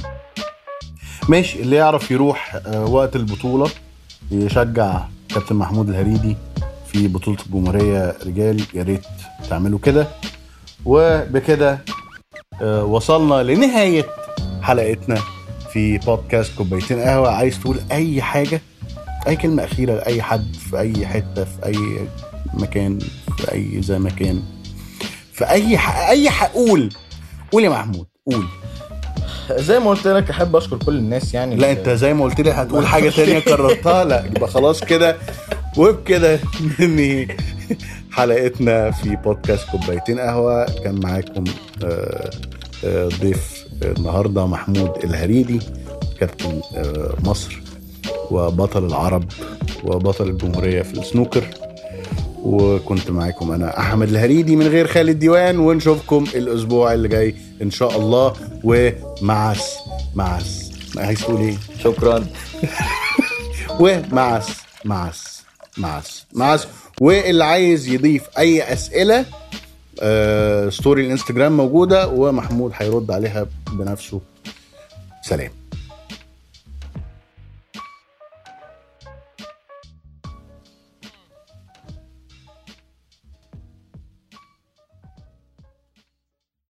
Speaker 1: ماشي اللي يعرف يروح آه، وقت البطولة يشجع كابتن محمود الهريدي في بطولة الجمهورية رجال يا ريت تعملوا كده وبكده آه، وصلنا لنهاية حلقتنا في بودكاست كوبايتين قهوة عايز تقول أي حاجة أي كلمة أخيرة لأي حد في أي حتة في أي مكان في أي زي مكان في أي ح... أي ح... قول قول يا محمود قول
Speaker 2: زي ما قلت لك احب اشكر كل الناس يعني
Speaker 1: لا انت زي ما قلت لي هتقول حاجه تانية كررتها لا يبقى خلاص كده وبكده ننهي حلقتنا في بودكاست كوبايتين قهوه كان معاكم آه، آه، ضيف النهارده محمود الهريدي كابتن آه، مصر وبطل العرب وبطل الجمهوريه في السنوكر وكنت معاكم انا احمد الهريدي من غير خالد ديوان ونشوفكم الاسبوع اللي جاي ان شاء الله ومع الس- مع الس- عايز تقول ايه
Speaker 2: شكرا
Speaker 1: ومعس معس معس معس واللي عايز يضيف اي اسئله آه، ستوري الانستجرام موجوده ومحمود هيرد عليها بنفسه سلام